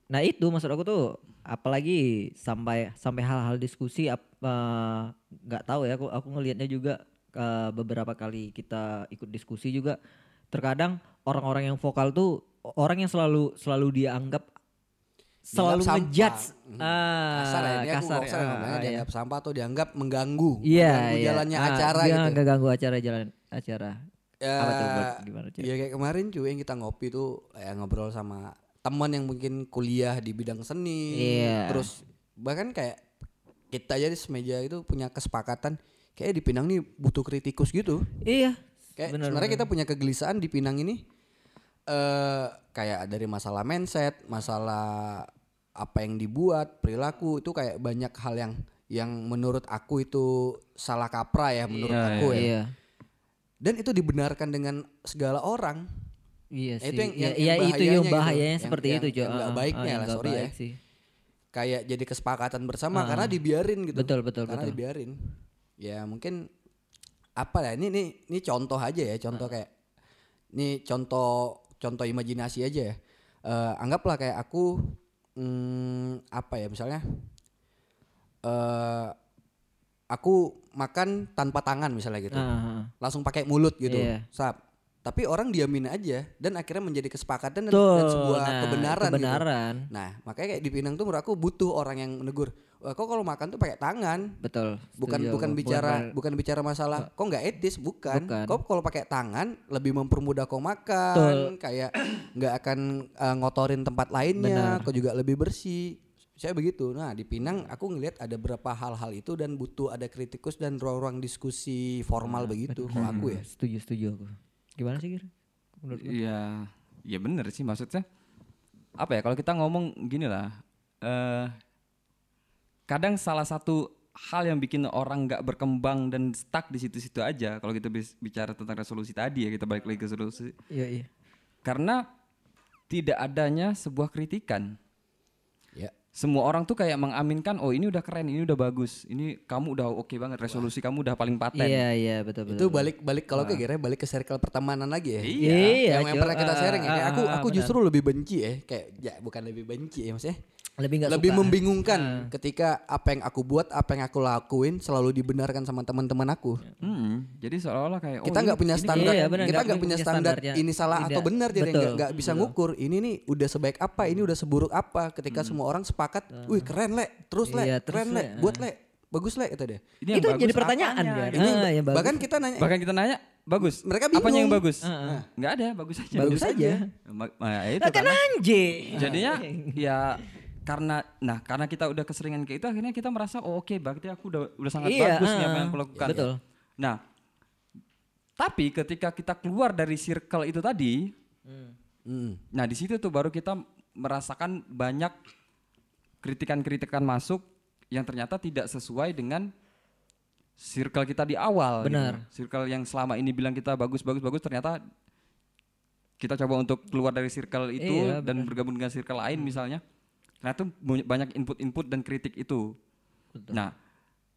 [SPEAKER 1] Nah itu maksud aku tuh apalagi sampai sampai hal-hal diskusi ap- eh, nggak tahu ya aku aku ngelihatnya juga eh, beberapa kali kita ikut diskusi juga terkadang orang-orang yang vokal tuh o- orang yang selalu selalu dia anggap selalu
[SPEAKER 2] sampah.
[SPEAKER 1] ngejudge
[SPEAKER 2] Mhm.
[SPEAKER 1] ah,
[SPEAKER 2] kasar ya ini aku nggak usah
[SPEAKER 1] ya,
[SPEAKER 2] ngomongnya
[SPEAKER 1] ah,
[SPEAKER 2] dianggap sampah atau dianggap mengganggu
[SPEAKER 1] Iya,
[SPEAKER 2] mengganggu
[SPEAKER 1] iya.
[SPEAKER 2] jalannya
[SPEAKER 1] Ah,
[SPEAKER 2] acara
[SPEAKER 1] dia
[SPEAKER 2] gitu
[SPEAKER 1] nggak ganggu acara jalan acara.
[SPEAKER 2] ya,
[SPEAKER 1] Apa tuh, Iya. Bud? Gimana, Cik?
[SPEAKER 2] ya kayak kemarin cuy yang kita ngopi tuh ya, ngobrol sama teman yang mungkin kuliah di bidang seni
[SPEAKER 1] Iya.
[SPEAKER 2] terus bahkan kayak kita jadi semeja itu punya kesepakatan kayak di Pinang nih butuh kritikus gitu.
[SPEAKER 1] Iya.
[SPEAKER 2] Kayak sebenarnya kita punya kegelisahan di Pinang ini eh kayak dari masalah mindset, masalah apa yang dibuat, perilaku itu kayak banyak hal yang yang menurut aku itu salah kaprah ya menurut
[SPEAKER 3] Iya,
[SPEAKER 2] aku ya.
[SPEAKER 1] Iya.
[SPEAKER 2] Dan itu dibenarkan dengan segala orang.
[SPEAKER 1] Iya sih.
[SPEAKER 2] Itu yang- yang-
[SPEAKER 1] ya,
[SPEAKER 2] yang
[SPEAKER 1] ya itu yang
[SPEAKER 2] bahayanya gitu.
[SPEAKER 1] bahayanya
[SPEAKER 2] Yang-
[SPEAKER 1] seperti
[SPEAKER 2] yang-
[SPEAKER 1] itu, Jo.
[SPEAKER 2] yang nggak
[SPEAKER 1] Ah, ah,
[SPEAKER 2] baiknya
[SPEAKER 1] yang
[SPEAKER 2] lah,
[SPEAKER 1] nggak
[SPEAKER 2] sorry ya.
[SPEAKER 1] baik sih.
[SPEAKER 2] Kayak jadi kesepakatan bersama karena dibiarin gitu.
[SPEAKER 1] Ah. Betul, betul,
[SPEAKER 2] Karena
[SPEAKER 1] betul.
[SPEAKER 2] dibiarin. Ya mungkin apa ya ini ini ini contoh aja ya, contoh
[SPEAKER 1] Ah.
[SPEAKER 2] kayak ini contoh contoh imajinasi aja ya. Eh, anggaplah kayak aku hmm, apa ya misalnya eh aku makan tanpa tangan misalnya gitu.
[SPEAKER 1] Ah, ah, ah.
[SPEAKER 2] langsung pakai mulut gitu.
[SPEAKER 1] Iya.
[SPEAKER 2] Sap. Tapi orang diamin aja dan akhirnya menjadi kesepakatan dan,
[SPEAKER 1] Betul.
[SPEAKER 2] dan sebuah
[SPEAKER 1] nah,
[SPEAKER 2] kebenaran, gitu.
[SPEAKER 1] Kebenaran.
[SPEAKER 2] Nah, makanya kayak di Pinang tuh menurut aku butuh orang yang menegur. Wah, kok kalau makan tuh pakai tangan?
[SPEAKER 1] Betul.
[SPEAKER 2] Bukan
[SPEAKER 1] setuju.
[SPEAKER 2] bukan bicara
[SPEAKER 1] ber-
[SPEAKER 2] bukan bicara masalah kok nggak etis, bukan.
[SPEAKER 1] Bukan.
[SPEAKER 2] Kok kalau pakai tangan lebih mempermudah kau
[SPEAKER 1] Betul.
[SPEAKER 2] makan, kayak nggak akan eh, ngotorin tempat lainnya, kok juga lebih bersih. Saya begitu. Nah, di Pinang aku ngelihat ada beberapa hal-hal itu dan butuh ada kritikus dan ruang-ruang diskusi formal
[SPEAKER 1] Nah,
[SPEAKER 2] begitu kalau aku ya.
[SPEAKER 1] Setuju, setuju aku. Gimana sih, Gir? Menurut lu?
[SPEAKER 3] Iya, ya bener sih maksudnya. Apa ya kalau kita ngomong gini lah, eh, kadang salah satu hal yang bikin orang nggak berkembang dan stuck di situ-situ aja. Kalau kita bis- bicara tentang resolusi tadi ya kita balik lagi ke resolusi,
[SPEAKER 1] Iya, iya.
[SPEAKER 3] karena tidak adanya sebuah kritikan.
[SPEAKER 2] Ya.
[SPEAKER 3] Semua orang tuh kayak mengaminkan, oh ini udah keren, ini udah bagus, ini kamu udah oke banget, resolusi kamu udah paling paten.
[SPEAKER 1] Iya, iya, betul, betul.
[SPEAKER 2] Itu balik balik kalau
[SPEAKER 1] Nah.
[SPEAKER 2] kayak kira balik ke circle pertemanan lagi ya.
[SPEAKER 3] Iya,
[SPEAKER 2] yang, yang
[SPEAKER 1] Jo.
[SPEAKER 2] pernah kita
[SPEAKER 1] Ah,
[SPEAKER 2] sharing ya.
[SPEAKER 1] ah,
[SPEAKER 2] Kayak aku
[SPEAKER 1] ah,
[SPEAKER 2] aku
[SPEAKER 1] benar.
[SPEAKER 2] justru lebih benci ya, kayak ya bukan lebih benci ya maksudnya.
[SPEAKER 1] lebih nggak suka.
[SPEAKER 2] lebih
[SPEAKER 1] Nah.
[SPEAKER 2] membingungkan ketika apa yang aku buat, apa yang aku lakuin selalu dibenarkan sama teman-teman aku.
[SPEAKER 3] Mm-mm. Jadi seolah-olah kayak oh,
[SPEAKER 2] Kita nggak
[SPEAKER 3] ini-
[SPEAKER 2] punya
[SPEAKER 3] ini
[SPEAKER 1] Oh,
[SPEAKER 2] standar,
[SPEAKER 1] iya, benar,
[SPEAKER 2] kita
[SPEAKER 1] nggak
[SPEAKER 2] nggak punya
[SPEAKER 1] punya
[SPEAKER 2] standar
[SPEAKER 1] standarnya.
[SPEAKER 2] ini salah atau
[SPEAKER 1] Tidak.
[SPEAKER 2] benar jadi
[SPEAKER 1] Betul,
[SPEAKER 2] nggak nggak bisa ngukur. Ini nih udah sebaik apa, ini udah seburuk apa. Ketika semua orang sepakat, wih keren lek, terus
[SPEAKER 1] Hmm.
[SPEAKER 2] lek,
[SPEAKER 1] Nah. Iya, terus,
[SPEAKER 2] keren lek,
[SPEAKER 1] Lek.
[SPEAKER 2] buat lek, bagus lek kata dia.
[SPEAKER 3] ini yang
[SPEAKER 1] Itu
[SPEAKER 3] bagus
[SPEAKER 1] jadi pertanyaan
[SPEAKER 3] apanya?
[SPEAKER 1] kan.
[SPEAKER 2] Ini
[SPEAKER 1] Ah, yang bagus.
[SPEAKER 2] bahkan kita nanya,
[SPEAKER 3] Bahkan kita nanya, bagus.
[SPEAKER 2] Mereka
[SPEAKER 3] Apanya yang
[SPEAKER 2] bingung.
[SPEAKER 3] bagus? Nah, Nggak ada, bagus aja.
[SPEAKER 1] bagus aja.
[SPEAKER 3] Ma- ma- itu
[SPEAKER 1] Lah kan
[SPEAKER 3] karena-
[SPEAKER 1] anjing.
[SPEAKER 3] jadinya ya karena nah karena kita udah keseringan kayak itu akhirnya kita merasa oh oke berarti aku udah udah sangat
[SPEAKER 1] Iya,
[SPEAKER 3] bagus nih apa
[SPEAKER 1] ah,
[SPEAKER 3] yang aku lakukan.
[SPEAKER 1] betul.
[SPEAKER 3] Nah, tapi ketika kita keluar dari circle itu tadi,
[SPEAKER 2] Hmm.
[SPEAKER 3] nah di situ tuh baru kita merasakan banyak kritikan-kritikan masuk yang ternyata tidak sesuai dengan circle kita di awal. gitu.
[SPEAKER 1] Benar.
[SPEAKER 3] Circle yang selama ini bilang kita bagus-bagus-bagus ternyata kita coba untuk keluar dari circle itu
[SPEAKER 1] Iya, Hmm.
[SPEAKER 3] dan bergabung dengan circle lain misalnya. Nah itu bu- banyak input-input dan kritik itu. Nah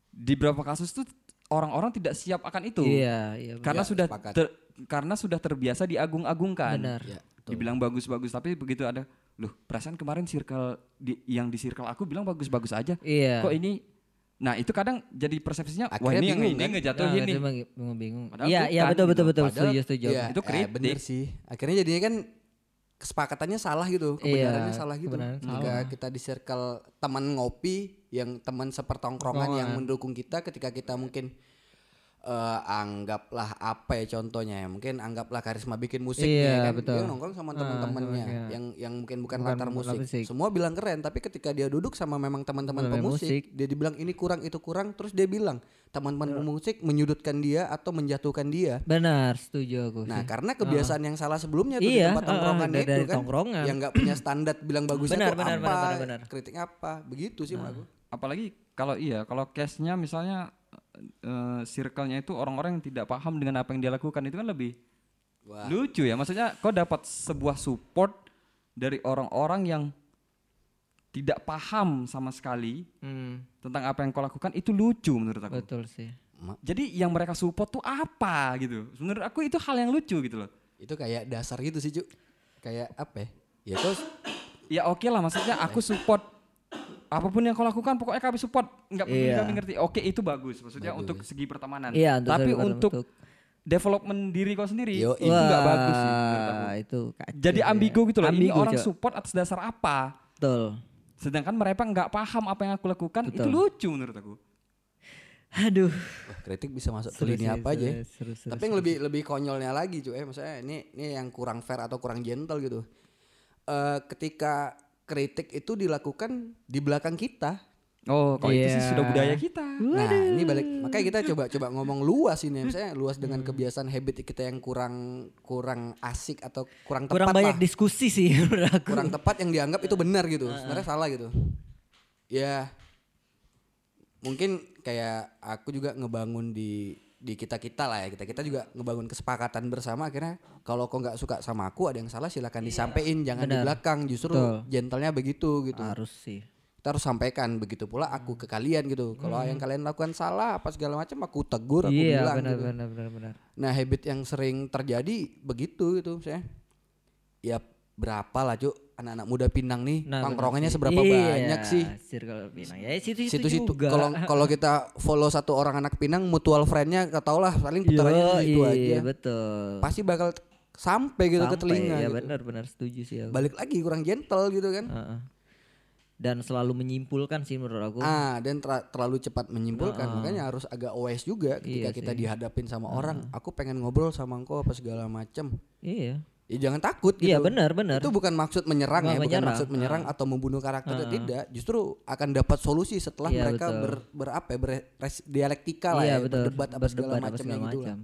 [SPEAKER 3] di beberapa kasus tuh orang-orang tidak siap akan itu
[SPEAKER 1] Iya, iya.
[SPEAKER 3] karena
[SPEAKER 2] Ya,
[SPEAKER 3] sudah
[SPEAKER 2] sepakat.
[SPEAKER 3] ter- karena sudah terbiasa diagung-agungkan.
[SPEAKER 1] Benar.
[SPEAKER 2] Ya,
[SPEAKER 3] Dibilang bagus-bagus tapi begitu ada loh perasaan kemarin circle di, yang di circle aku bilang bagus-bagus aja.
[SPEAKER 1] Iya.
[SPEAKER 3] Kok ini Nah, itu kadang jadi persepsinya wah
[SPEAKER 2] Akhirnya
[SPEAKER 3] ini yang
[SPEAKER 2] bingung,
[SPEAKER 3] ini
[SPEAKER 2] kan?
[SPEAKER 3] ngejatuhin
[SPEAKER 1] Nah,
[SPEAKER 3] nih.
[SPEAKER 1] bingung bingung.
[SPEAKER 3] Padahal
[SPEAKER 1] Iya, iya
[SPEAKER 3] bukan,
[SPEAKER 1] betul betul
[SPEAKER 3] gitu.
[SPEAKER 1] betul
[SPEAKER 2] Padahal-
[SPEAKER 1] setuju setuju.
[SPEAKER 2] Iya,
[SPEAKER 3] Itu
[SPEAKER 2] eh,
[SPEAKER 3] kritik.
[SPEAKER 2] bener sih. Akhirnya jadinya kan kesepakatannya salah gitu, kebenarannya
[SPEAKER 1] Iya,
[SPEAKER 2] salah gitu.
[SPEAKER 1] kebenaran
[SPEAKER 2] Ketika kita di circle teman ngopi, yang teman sepertongkrongan yang mendukung kita, ketika kita mungkin eh, anggaplah apa ya contohnya ya, mungkin anggaplah karisma bikin musik
[SPEAKER 1] Iya,
[SPEAKER 2] ya kan,
[SPEAKER 1] betul.
[SPEAKER 2] dia nongkrong sama teman-temannya
[SPEAKER 1] temannya.
[SPEAKER 2] yang yang mungkin bukan,
[SPEAKER 1] Bukan
[SPEAKER 2] latar
[SPEAKER 1] latar
[SPEAKER 2] musik.
[SPEAKER 1] musik.
[SPEAKER 2] Semua bilang keren, tapi ketika dia duduk sama memang teman-teman
[SPEAKER 1] Teman-teman
[SPEAKER 2] pemusik, dia dibilang ini kurang itu kurang, terus dia bilang teman-teman pemusik menyudutkan dia atau menjatuhkan dia.
[SPEAKER 1] Benar, setuju aku. sih.
[SPEAKER 2] Nah, karena kebiasaan yang salah sebelumnya tuh
[SPEAKER 1] Iya,
[SPEAKER 2] di tempat
[SPEAKER 1] heeh,
[SPEAKER 2] tongkrongan
[SPEAKER 1] dari-
[SPEAKER 2] itu
[SPEAKER 1] dari
[SPEAKER 2] kan
[SPEAKER 1] tongkrongan.
[SPEAKER 2] yang nggak punya standar bilang bagusnya
[SPEAKER 1] Benar,
[SPEAKER 2] tuh
[SPEAKER 1] benar,
[SPEAKER 2] apa,
[SPEAKER 1] benar, benar, benar.
[SPEAKER 2] kritik apa, begitu sih menurut aku.
[SPEAKER 3] Apalagi kalau iya, kalau case-nya misalnya eh, circle-nya itu orang-orang yang tidak paham dengan apa yang dia lakukan itu kan lebih
[SPEAKER 2] Wah.
[SPEAKER 3] lucu ya. Maksudnya kau dapat sebuah support dari orang-orang yang tidak paham sama sekali
[SPEAKER 1] Hmm,
[SPEAKER 3] tentang apa yang kau lakukan itu lucu menurut aku.
[SPEAKER 1] betul sih.
[SPEAKER 3] Jadi yang mereka support tuh apa gitu. Menurut aku itu hal yang lucu gitu loh.
[SPEAKER 2] Itu kayak dasar gitu sih, Cuk. Kayak apa ya? Ya terus
[SPEAKER 3] Ya oke lah maksudnya aku support apapun yang kau lakukan pokoknya kami support. Enggak peduli
[SPEAKER 1] Iya.
[SPEAKER 3] kami ngerti. Oke itu bagus. Maksudnya untuk segi pertemanan.
[SPEAKER 1] Iya, untuk
[SPEAKER 3] Tapi
[SPEAKER 1] daripada
[SPEAKER 3] untuk
[SPEAKER 1] bentuk.
[SPEAKER 3] development diri kau sendiri
[SPEAKER 2] Yo,
[SPEAKER 3] itu enggak
[SPEAKER 1] Wah,
[SPEAKER 3] bagus sih menurut aku.
[SPEAKER 1] Itu kacau
[SPEAKER 3] Jadi
[SPEAKER 1] sih.
[SPEAKER 3] ambigu gitu loh. Ini
[SPEAKER 1] Ambigu,
[SPEAKER 3] orang
[SPEAKER 1] Jo.
[SPEAKER 3] support atas dasar apa?
[SPEAKER 1] Betul.
[SPEAKER 3] Sedangkan mereka nggak paham apa yang aku lakukan itu
[SPEAKER 1] Betul.
[SPEAKER 3] lucu menurut aku.
[SPEAKER 1] Aduh.
[SPEAKER 2] wah, kritik bisa masuk ke
[SPEAKER 1] Seru
[SPEAKER 2] lini
[SPEAKER 1] sih,
[SPEAKER 2] apa aja. ya.
[SPEAKER 1] seru, seru, seru,
[SPEAKER 2] Tapi yang lebih lebih konyolnya lagi, Cuk, eh maksudnya ini ini yang kurang fair atau kurang gentle gitu. Eh ketika kritik itu dilakukan di belakang kita.
[SPEAKER 3] Oh, kalau itu sih
[SPEAKER 1] Iya.
[SPEAKER 3] sudah budaya kita.
[SPEAKER 2] Nah, ini balik makanya kita coba coba ngomong luas ini ya. Misalnya
[SPEAKER 1] Hmm.
[SPEAKER 2] luas dengan kebiasaan habit kita yang kurang kurang asik atau kurang tepat
[SPEAKER 1] kurang banyak
[SPEAKER 2] lah.
[SPEAKER 1] diskusi sih menurut aku.
[SPEAKER 2] kurang tepat yang dianggap itu benar gitu. Sebenarnya salah gitu. Ya. Mungkin kayak aku juga ngebangun di di kita-kita lah ya. Kita-kita juga ngebangun kesepakatan bersama akhirnya kalau kau nggak suka sama aku ada yang salah silakan disampaikan jangan di
[SPEAKER 1] Iya. Benar.
[SPEAKER 2] belakang justru
[SPEAKER 1] Betul.
[SPEAKER 2] gentlenya begitu gitu
[SPEAKER 1] Harus sih.
[SPEAKER 2] kita harus sampaikan begitu pula aku ke kalian gitu kalau yang kalian lakukan salah apa segala macam aku tegur aku
[SPEAKER 1] Hmm. Iya
[SPEAKER 2] bilang
[SPEAKER 1] benar
[SPEAKER 2] gitu.
[SPEAKER 1] benar benar benar.
[SPEAKER 2] nah habit yang sering terjadi begitu gitu saya ya berapa lah cuk anak-anak muda pinang nih
[SPEAKER 1] Nah,
[SPEAKER 2] tongkrongannya
[SPEAKER 1] benar
[SPEAKER 2] seberapa
[SPEAKER 1] Iya,
[SPEAKER 2] banyak sih
[SPEAKER 1] Circle Pinang. Ya situ-situ,
[SPEAKER 2] situ-situ
[SPEAKER 1] juga.
[SPEAKER 2] kalau kalau kita follow satu orang anak pinang mutual friendnya gak tau lah paling
[SPEAKER 1] Yo,
[SPEAKER 2] putarannya itu
[SPEAKER 1] iya,
[SPEAKER 2] aja
[SPEAKER 1] betul.
[SPEAKER 2] pasti bakal t- sampai gitu
[SPEAKER 1] Sampai,
[SPEAKER 2] ke telinga
[SPEAKER 1] Ya
[SPEAKER 2] gitu.
[SPEAKER 1] benar benar setuju sih aku.
[SPEAKER 2] balik lagi kurang gentle gitu kan
[SPEAKER 1] Heeh. Dan selalu menyimpulkan sih menurut aku.
[SPEAKER 2] Ah, dan tra- terlalu cepat menyimpulkan. Makanya harus agak OS juga
[SPEAKER 1] Iya
[SPEAKER 2] ketika kita dihadapin sama orang. Aku pengen ngobrol sama engkau apa segala macem.
[SPEAKER 1] Iya.
[SPEAKER 2] Ya jangan takut gitu.
[SPEAKER 1] Iya benar benar.
[SPEAKER 2] Itu bukan maksud menyerang ya,
[SPEAKER 1] Bukan
[SPEAKER 2] bukan
[SPEAKER 1] menyerang.
[SPEAKER 2] maksud menyerang atau membunuh karakter tidak. Justru akan dapat solusi setelah
[SPEAKER 1] Iya,
[SPEAKER 2] mereka
[SPEAKER 1] betul.
[SPEAKER 2] ber, berapa ya, beres- dialektika lah
[SPEAKER 1] iya
[SPEAKER 2] ya,
[SPEAKER 1] betul.
[SPEAKER 2] berdebat apa segala
[SPEAKER 1] Berdebat apa
[SPEAKER 2] macamnya
[SPEAKER 1] segala
[SPEAKER 2] gitu lah.
[SPEAKER 1] macam.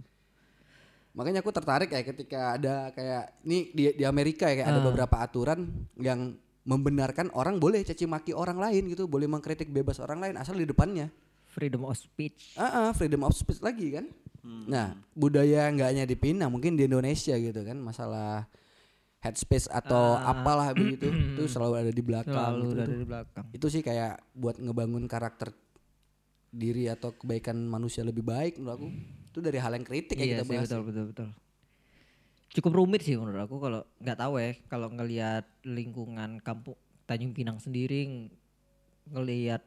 [SPEAKER 2] Makanya aku tertarik ya ketika ada kayak nih di di Amerika ya kayak ada beberapa aturan yang membenarkan orang boleh caci maki orang lain gitu, boleh mengkritik bebas orang lain asal di depannya.
[SPEAKER 1] Freedom of speech.
[SPEAKER 2] Ah, ah, freedom of speech lagi kan.
[SPEAKER 1] Hmm.
[SPEAKER 2] Nah, budaya nggak hanya di Pinang, mungkin di Indonesia gitu kan, masalah headspace atau apalah begitu, itu selalu ada di belakang.
[SPEAKER 1] Ah. Hmm. Selalu
[SPEAKER 2] gitu.
[SPEAKER 1] dari belakang.
[SPEAKER 2] Itu sih kayak buat ngebangun karakter diri atau kebaikan manusia lebih baik menurut aku. Itu dari hal yang kritik ya
[SPEAKER 1] Iya
[SPEAKER 2] kita
[SPEAKER 1] sih
[SPEAKER 2] bahas.
[SPEAKER 1] betul betul betul. Cukup rumit sih menurut aku kalau nggak tahu ya kalau ngelihat lingkungan kampung Tanjung Pinang sendiri ng- ngelihat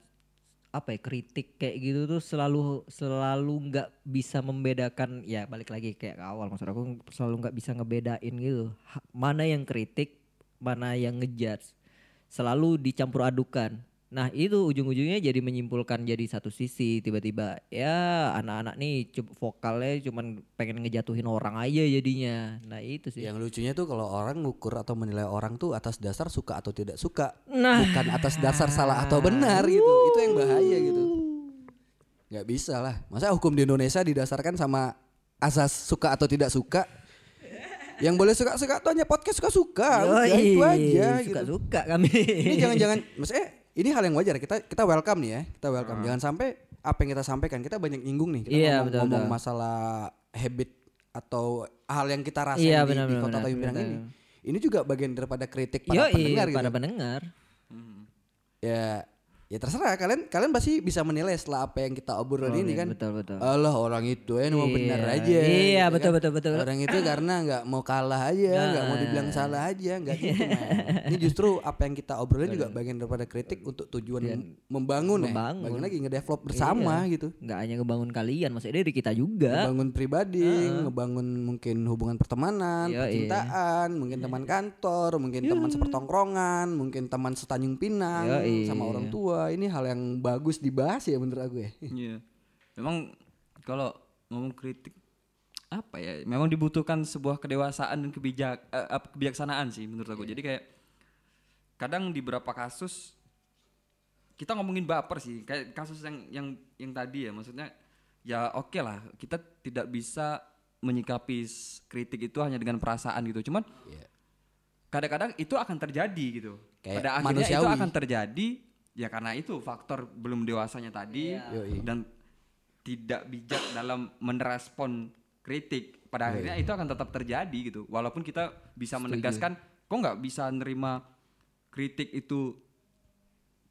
[SPEAKER 1] apa ya kritik kayak gitu tuh selalu selalu nggak bisa membedakan ya balik lagi kayak ke awal maksud aku selalu nggak bisa ngebedain gitu Ha- mana yang kritik mana yang ngejudge selalu dicampur adukan nah itu ujung-ujungnya jadi menyimpulkan jadi satu sisi tiba-tiba ya anak-anak nih cu- vokalnya cuman pengen ngejatuhin orang aja jadinya nah itu sih
[SPEAKER 2] Yang lucunya tuh kalau orang ngukur atau menilai orang tuh atas dasar suka atau tidak suka,
[SPEAKER 1] Nah.
[SPEAKER 2] bukan atas dasar salah atau benar gitu. Itu yang bahaya gitu. Gak bisa lah. Masa hukum di Indonesia didasarkan sama asas suka atau tidak suka? Yang boleh suka-suka tuh hanya podcast suka-suka. udah, Ah, ya itu aja
[SPEAKER 1] suka
[SPEAKER 2] gitu.
[SPEAKER 1] suka kami
[SPEAKER 2] Ini jangan-jangan maksudnya ini hal yang wajar. Kita kita welcome nih ya. Kita welcome. Jangan sampai apa yang kita sampaikan kita banyak nyinggung nih. Kita
[SPEAKER 1] Ah. Iya,
[SPEAKER 2] ngomong,
[SPEAKER 1] betul,
[SPEAKER 2] ngomong
[SPEAKER 1] betul.
[SPEAKER 2] masalah habit atau hal yang kita rasain
[SPEAKER 1] Iya,
[SPEAKER 2] di,
[SPEAKER 1] benar,
[SPEAKER 2] di
[SPEAKER 1] benar,
[SPEAKER 2] kota
[SPEAKER 1] benar,
[SPEAKER 2] Tanjung Pinang
[SPEAKER 1] benar.
[SPEAKER 2] ini. Ini juga bagian daripada kritik
[SPEAKER 1] Yoi,
[SPEAKER 2] para pendengar gitu.
[SPEAKER 1] para pendengar
[SPEAKER 2] Ya ya terserah kalian kalian pasti bisa menilai setelah apa yang kita obrolin
[SPEAKER 1] Obrolin,
[SPEAKER 2] ini kan.
[SPEAKER 1] betul, betul.
[SPEAKER 2] Allah orang itu ya mau benar
[SPEAKER 1] Iya,
[SPEAKER 2] aja.
[SPEAKER 1] iya,
[SPEAKER 2] kan.
[SPEAKER 1] betul, betul, betul. Nah.
[SPEAKER 2] Orang itu karena nggak mau kalah aja, nggak mau dibilang salah aja, nggak gitu. Nah, ini justru apa yang kita obrolin juga bagian daripada kritik untuk tujuan membangun, ya.
[SPEAKER 1] Iya. membangun. Iya.
[SPEAKER 2] Bagian lagi ngedevelop bersama gitu.
[SPEAKER 1] nggak hanya ngebangun kalian maksudnya dari kita juga
[SPEAKER 2] Ngebangun pribadi, ngebangun mungkin hubungan pertemanan,
[SPEAKER 1] Iya, iya.
[SPEAKER 2] percintaan, mungkin teman kantor, mungkin teman sepertongkrongan, mungkin teman setanjung pinang
[SPEAKER 1] Iya, iya.
[SPEAKER 2] sama orang tua. Ini hal yang bagus dibahas ya menurut aku ya.
[SPEAKER 3] Iya. Memang kalau ngomong kritik apa ya? Memang dibutuhkan sebuah kedewasaan dan kebijak eh, apa, kebijaksanaan sih menurut aku.
[SPEAKER 2] Iya.
[SPEAKER 3] Jadi kayak kadang di beberapa kasus kita ngomongin baper sih. Kayak kasus yang yang yang tadi ya, maksudnya ya oke lah, kita tidak bisa menyikapi s- kritik itu hanya dengan perasaan gitu. Cuman kadang-kadang itu akan terjadi gitu.
[SPEAKER 2] Iya. Kayak
[SPEAKER 3] Pada akhirnya itu
[SPEAKER 2] manusiawi.
[SPEAKER 3] akan terjadi ya karena itu faktor belum dewasanya tadi
[SPEAKER 2] Yoi.
[SPEAKER 3] dan tidak bijak dalam menerespon kritik. Pada akhirnya itu akan tetap terjadi gitu. Walaupun kita bisa menegaskan kok nggak bisa nerima kritik itu